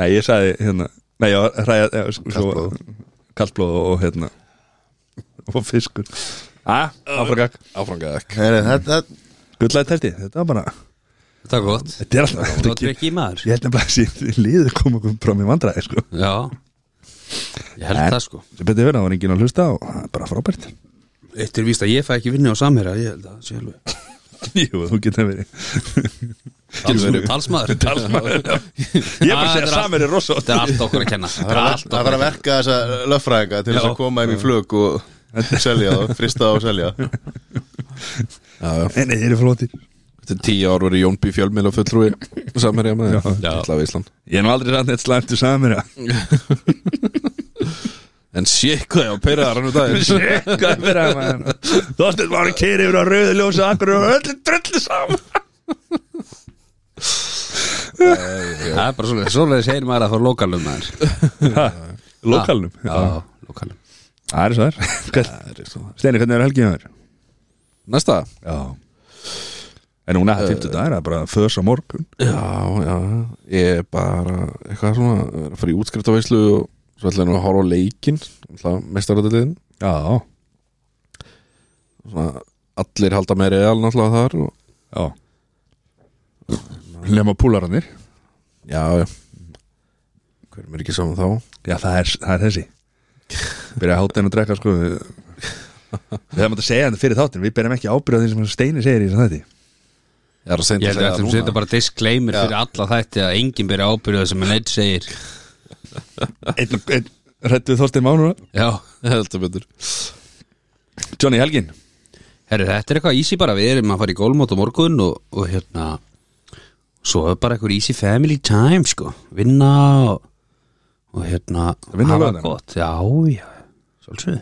S1: Nei, ég sagði hérna Nei, ég var hræða eh, sko-
S3: Kalt blóð.
S1: Kalt blóð og, og hérna Og fiskur Æ, áfragak
S4: Áfrangað ekki
S3: Þetta,
S1: Gullæði telti, þetta var bara
S2: Þetta er gott
S1: Þetta er alltaf
S2: Þú
S1: þetta
S2: ert
S1: ekki
S2: ekki í maður
S1: Ég held nefnilega að þessi liður kom okkur fram í vandræði sko.
S2: Já Ég held
S1: En-
S2: það sko
S1: Sem betur verið, það var enginn að hlusta og það er bara frábært
S2: Eitt er víst að ég fæ ekki vinni á samherja Ég held að það sé alveg
S1: Jú, þú getur verið
S2: Talsmaður Talsmaður Talsmaður
S1: Ég er bara að
S2: Ah, þetta
S1: segja
S2: er
S1: samir er rosa
S2: Þetta er allt okkur að kenna Þetta
S3: það
S2: er
S3: var-
S2: allt
S3: það var
S2: okkur
S3: að
S2: að
S3: verka þessa löffræðinga til
S2: Já.
S3: þess að koma þeim í flug og selja það, frista það og selja
S4: Já, já
S1: Nei, þeir eru flóttir
S4: Þetta er tíu ár voru Jón B. Fjölmil og fulltrúi Samherja með þér,
S2: Já.
S4: titla á Ísland
S1: Ég er nú aldrei sann þetta slæmt um til samir
S4: En sék hvað ég á pyrraðar hann úr daginn
S1: Sjekkaði fyrir að maður Þorsteinn var að keiri yfir á rauðu ljósi Akkur og öllu drullu saman
S2: Það er bara svona Svona segir maður að fara lokalum maður
S1: Lokalnum
S2: Já, lokalum
S1: Það er svo þær Steini, hvernig er helgið þér?
S4: Næsta
S1: Já En núna,
S2: Eh,
S1: 50 dagar, það er bara föðs á morgun
S4: Já, já, ég er bara eitthvað svona, að vera að fara í útskriftaveislu og svo ætla ég nú að horfa á leikinn mestaröldaliðin
S1: Já,
S4: svona, allir halda með real náttúrulega þar og,
S1: já Lema púlarannir
S4: Já, já Hverjum er ekki saman þá?
S1: Já, það er, það er þessi Byrja að háta henn að drekka sko Við við hefum átt að segja þetta fyrir þáttin Við berjum ekki ábyrða því sem Steini segir í þess að þetta
S4: Ég er að senda
S2: Ég held að
S4: að segja
S2: þetta
S4: það
S2: setja
S4: núna
S2: bara disclaimer fyrir alla þætti að enginn byrja ábyrðað sem neitt segir
S1: Einn, einn, rættu Þorstein Mánu
S2: Já,
S4: Heldur betur
S1: Johnny Helgin
S2: herri þetta er eitthvað easy bara við erum að fara í gólmót á morgun og, og hérna svo er bara eitthvað easy family time sko, vinna og, og hérna
S1: vinna á
S2: hafa
S1: laugardag?
S2: gott, já, já svolítið,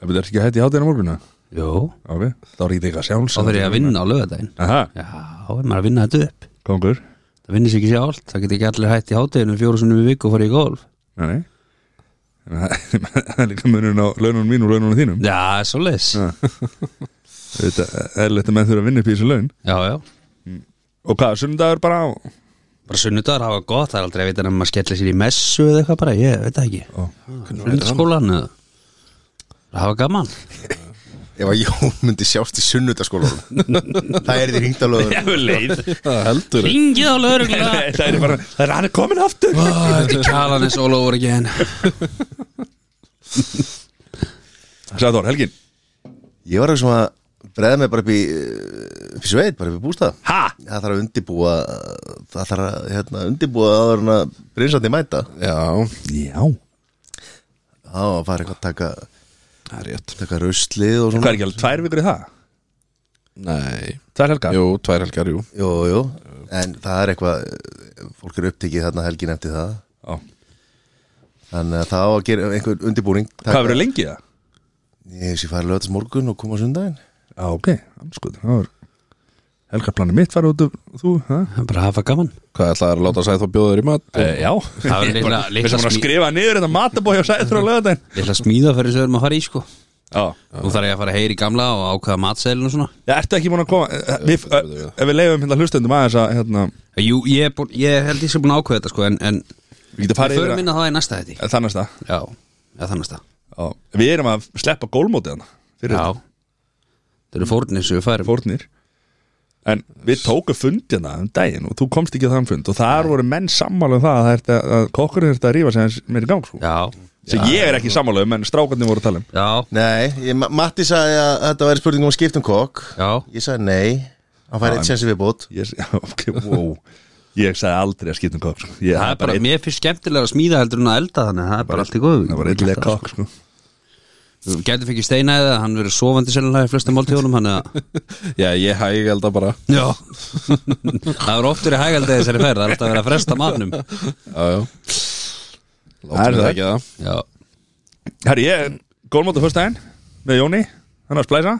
S1: Það er ekki hætti í hátina morgunna
S2: jú
S1: Ok, þá er ekki þig að sjálfs
S2: þá þarf ég að vinna á lögadaginn
S1: Aha,
S2: Já, er maður að vinna þetta upp
S1: kongur
S2: Það það vinnir sér ekki sjálft, það geti ekki allir hætt í hátæðinu fjóru sunnum í viku og farið í golf
S1: Nei, nei. Þannig að Það er líka munurinn á laununum mín og laununum þínum
S2: Já, svo leis
S1: Já. Þetta er lett að menn þurfa að vinna upp í þessu laun
S2: Já, já,
S1: Og hvað, sunnudagur bara á
S2: bara sunnudagur hafa gott, það er aldrei að vita nefnum að skella sér í messu eða eitthvað bara, ég veit það ekki
S1: Ó.
S2: Sunnudagsskólan eða Bara hafa gaman
S3: Ef að Jón myndi sjást í sunnudaskólanum Það er því hringt á lögur
S2: leið
S4: Það heldur
S2: Ringið á lögregluna
S1: Það er bara, það er hann er komin aftur
S2: Ó, Þetta er kjalanis all over again
S1: Sæður, Helgin
S3: Ég var eitthvað að breða mig bara upp í eh, upp í sveit, bara upp í bústað
S1: Ha?
S3: Það þarf að undibúa það þarf að hérna, undibúa áður en að brinsandi mæta
S4: Já,
S1: Já
S3: þá að fara eitthvað að taka,
S4: það er rétt
S3: taka ruslið og
S1: Hvað
S3: svona
S1: er ekki alveg tvær vikur í það?
S4: Nei,
S1: Tvær helgar?
S4: jú, tvær helgar, jú
S3: Jú, jú, en það er eitthvað eh, fólk er upptekið þarna helgin eftir það
S1: Já.
S3: þannig að það á að gera einhver undibúning
S1: Hvað verður lengi það?
S3: Ég sé fara lögðast morgun og koma á sundaginn
S1: Já, ok, sko, það var Helgarplanið mitt var út og þú, ha?
S2: Bara hafa gaman
S4: Hvað ætlaði að láta sæð þá bjóður í mat?
S1: E, já
S2: Það var litla-
S1: Við
S2: litla
S1: sem að
S2: smí-
S1: skrifa niður þetta matabói á sæður á lögadaginn
S2: Ég ætla að smíða fyrir sögur maður að fara í sko
S1: Já
S2: Nú þarf ég að fara heyri í gamla og ákvaða matseðlun og svona
S1: Já, ertu ekki búin að koma eh, við, eh, Ef við leifum hérna hlustendum aðeins að hérna,
S2: Eh, Jú, ég, er búinn- ég held ég sem búin að ákveða þetta sko En, en
S1: Við getum
S2: við
S1: farið yfir
S2: förum inn að það í næsta þetta
S1: að Þannig að
S2: Já, já þannig að
S1: það Við erum að sleppa gólmótið hann Fyrir
S2: Já
S1: þetta,
S2: Það eru fórnir sem við færum
S1: fórnir En við tókum fundina um daginn og þú komst ekki á þann fund og þar voru menn sammála um það að, það ertu að, að kokkurinn þurfti að rífa sig hans meir í gang sko.
S2: Já,
S1: sem ég er ekki sammála um en strákarnir voru að tala um
S2: já,
S3: Nei, ég, Ma- Matti sagði að þetta væri spurning um að skipta um kokk
S2: já
S3: Ég sagði nei, hann fær eitt sensi viðbót
S1: ég, já, ok, wow. ég sagði aldrei að skipta um kokk sko. ég,
S2: Það er bara,
S1: einn-
S2: mér finnst skemmtilega að smíða heldur en að elda þannig að Það er bara allt í góðu
S1: það var eitthvað kokk sko.
S2: Gæti fengið steina eða, hann verið sofandi sennilega í flestum máltíðunum hann eða
S4: Já, ég hæg held að bara
S2: Já Það er oft verið hægaldið þessari ferð, það er alltaf verið að fresta matnum
S4: Já, já
S1: Það er
S4: Láttum við
S1: það.
S4: ekki það
S2: Já,
S1: Herri, ég gólmóta fyrst daginn með Jóni, hann er að splæsa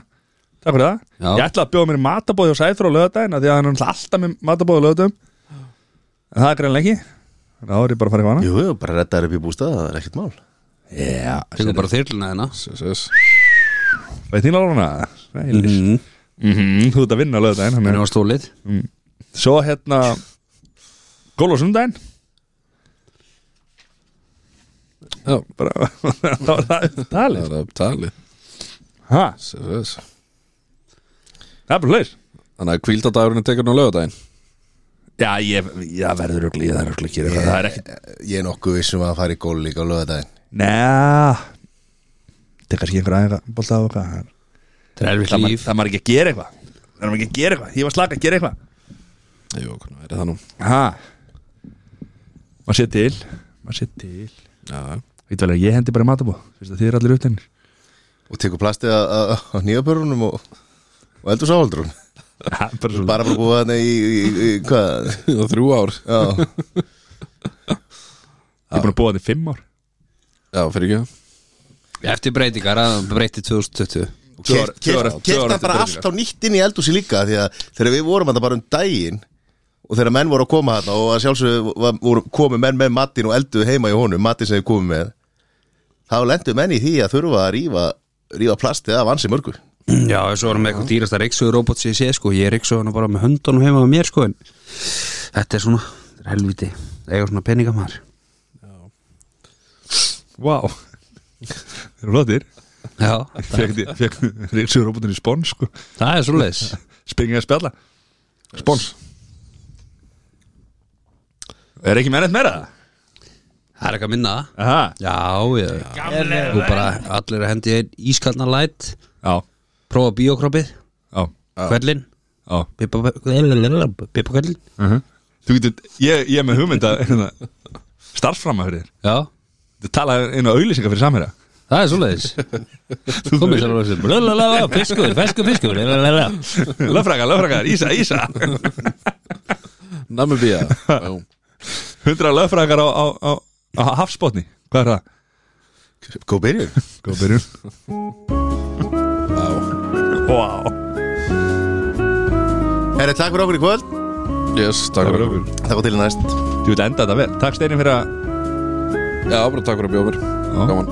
S1: Takk fyrir það
S2: Já.
S1: Ég ætla að bjóða mér í matabóði og sæður á lögadaginn af Því að hann er náttúrulega alltaf með matabóði á lögadagum En það er greinlega ekki Þannig að þá er ég bara að fara í vana
S3: Jú, jú, bara reddaður upp í bústað, það er ekkert mál
S1: Já,
S2: tekum bara þyrluna hérna. þennan
S4: Sess, sess
S1: Veit þín alveg hana? Mm
S2: Mhm.
S1: -hmm. Þú ert að vinna á lögadaginn hann
S2: Henni
S1: er-
S2: var stólið
S1: Svo hérna Gól og sundaginn
S4: Já,
S1: bara, Þá er það upp
S4: það
S1: talið
S4: er upp talið
S1: Ha,
S4: Sess, sess
S1: Það er bara hlaus
S4: Þannig að kvíldadagurinn er tekinn á lögadaginn
S1: Já, ég, ég verður ögl í það er ögl ekki yeah. Það er ekki
S3: Ég er nokkuð vissum að fara í gól líka á lögadaginn
S1: Næ Það er kannski einhver aðeins Bólta á eitthvað Það-
S2: Það er erfitt
S1: það maður-
S2: líf
S1: Það maður ekki að gera eitthvað Það maður ekki að gera eitthvað Ég var slaka að gera eitthvað
S4: Jú, hvernig verið það nú
S1: Ha Maður sé til Maður sé til
S4: Já,
S1: Veit vel að ég hendi bara í matabó Fyrst að þið eru allir upptænir
S3: Og tekur plastið að- að- á nýjapörunum og, og eldur sáhaldrun
S1: Bara svo
S3: Bara bara búið þarna í, í, í, í hvað?
S4: það er þrjú ár
S3: Já,
S1: Ég er búin að búa þetta í fimm ár
S4: Já, fyrir ekki
S2: Eftir breytingar, að breytið 2020
S1: Tvö ár- tvö ár- tvö ár
S3: Kert
S1: eftir
S3: það bara
S1: breytingar.
S3: allt á nýtt inn í eldúsi líka Því að þegar við vorum þetta bara um daginn Og þegar menn voru að koma þarna Og að sjálfsögðu var- voru komið menn með matinn Og elduðu heima í honum, matinn sem þið komið með Þá lendu menn í því að þurfa að rífa Rífa plastið af ansi mörgur
S2: Já, þessu varum með eitthvað dýrasta reyksugur robot sem ég sé sko, ég reyksugur hana bara með höndunum heima með mér sko, en þetta er svona, þetta er helviti, eiga svona peninga maður
S1: Vá Þeir eru flottir
S2: Já,
S1: Fekk, fekk Ríksu robotin í spons sko.
S2: það er svoleiðis
S1: Springið að spjalla Spons Er ekki mennett meira?
S2: Það er eitthvað minna
S1: Aha.
S2: Já, ég, nú bara allir að hendi einn ískalna læt
S1: Já,
S2: prófa biokroppið,
S1: já,
S2: kvellin
S1: já
S2: pipakvellin
S1: Þú getur, ég, ég er með hugmynd að hérna, starfframa fyrir þér
S2: Já,
S1: Þú talaði einu auðlýsingar fyrir samherja
S2: það er svoleiðis Komið sér alveg sem Fiskur, fiskur, fiskur lalalala.
S1: Löfrakar, löfrakar, Ísa, Ísa
S4: Namibía Já,
S1: 100 löfrakar á, á, á, á hafsbótni Hvað er það?
S3: Góð byrjun
S1: Góð byrjun Vá
S3: Herri, takk fyrir okkur í kvöld
S4: yes, takk fyrir
S1: okkur
S3: Það var til í næst
S1: Þú vil enda þetta vel Takk Steinin fyrir að
S4: Já, bara takk fyrir að bjóða mér
S1: Já.
S4: Gaman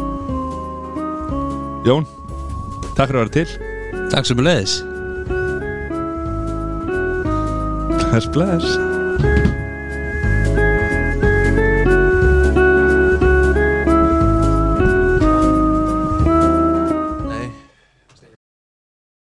S1: Jón Takk fyrir að vera til
S2: Takk sem er leiðis
S1: Bless bless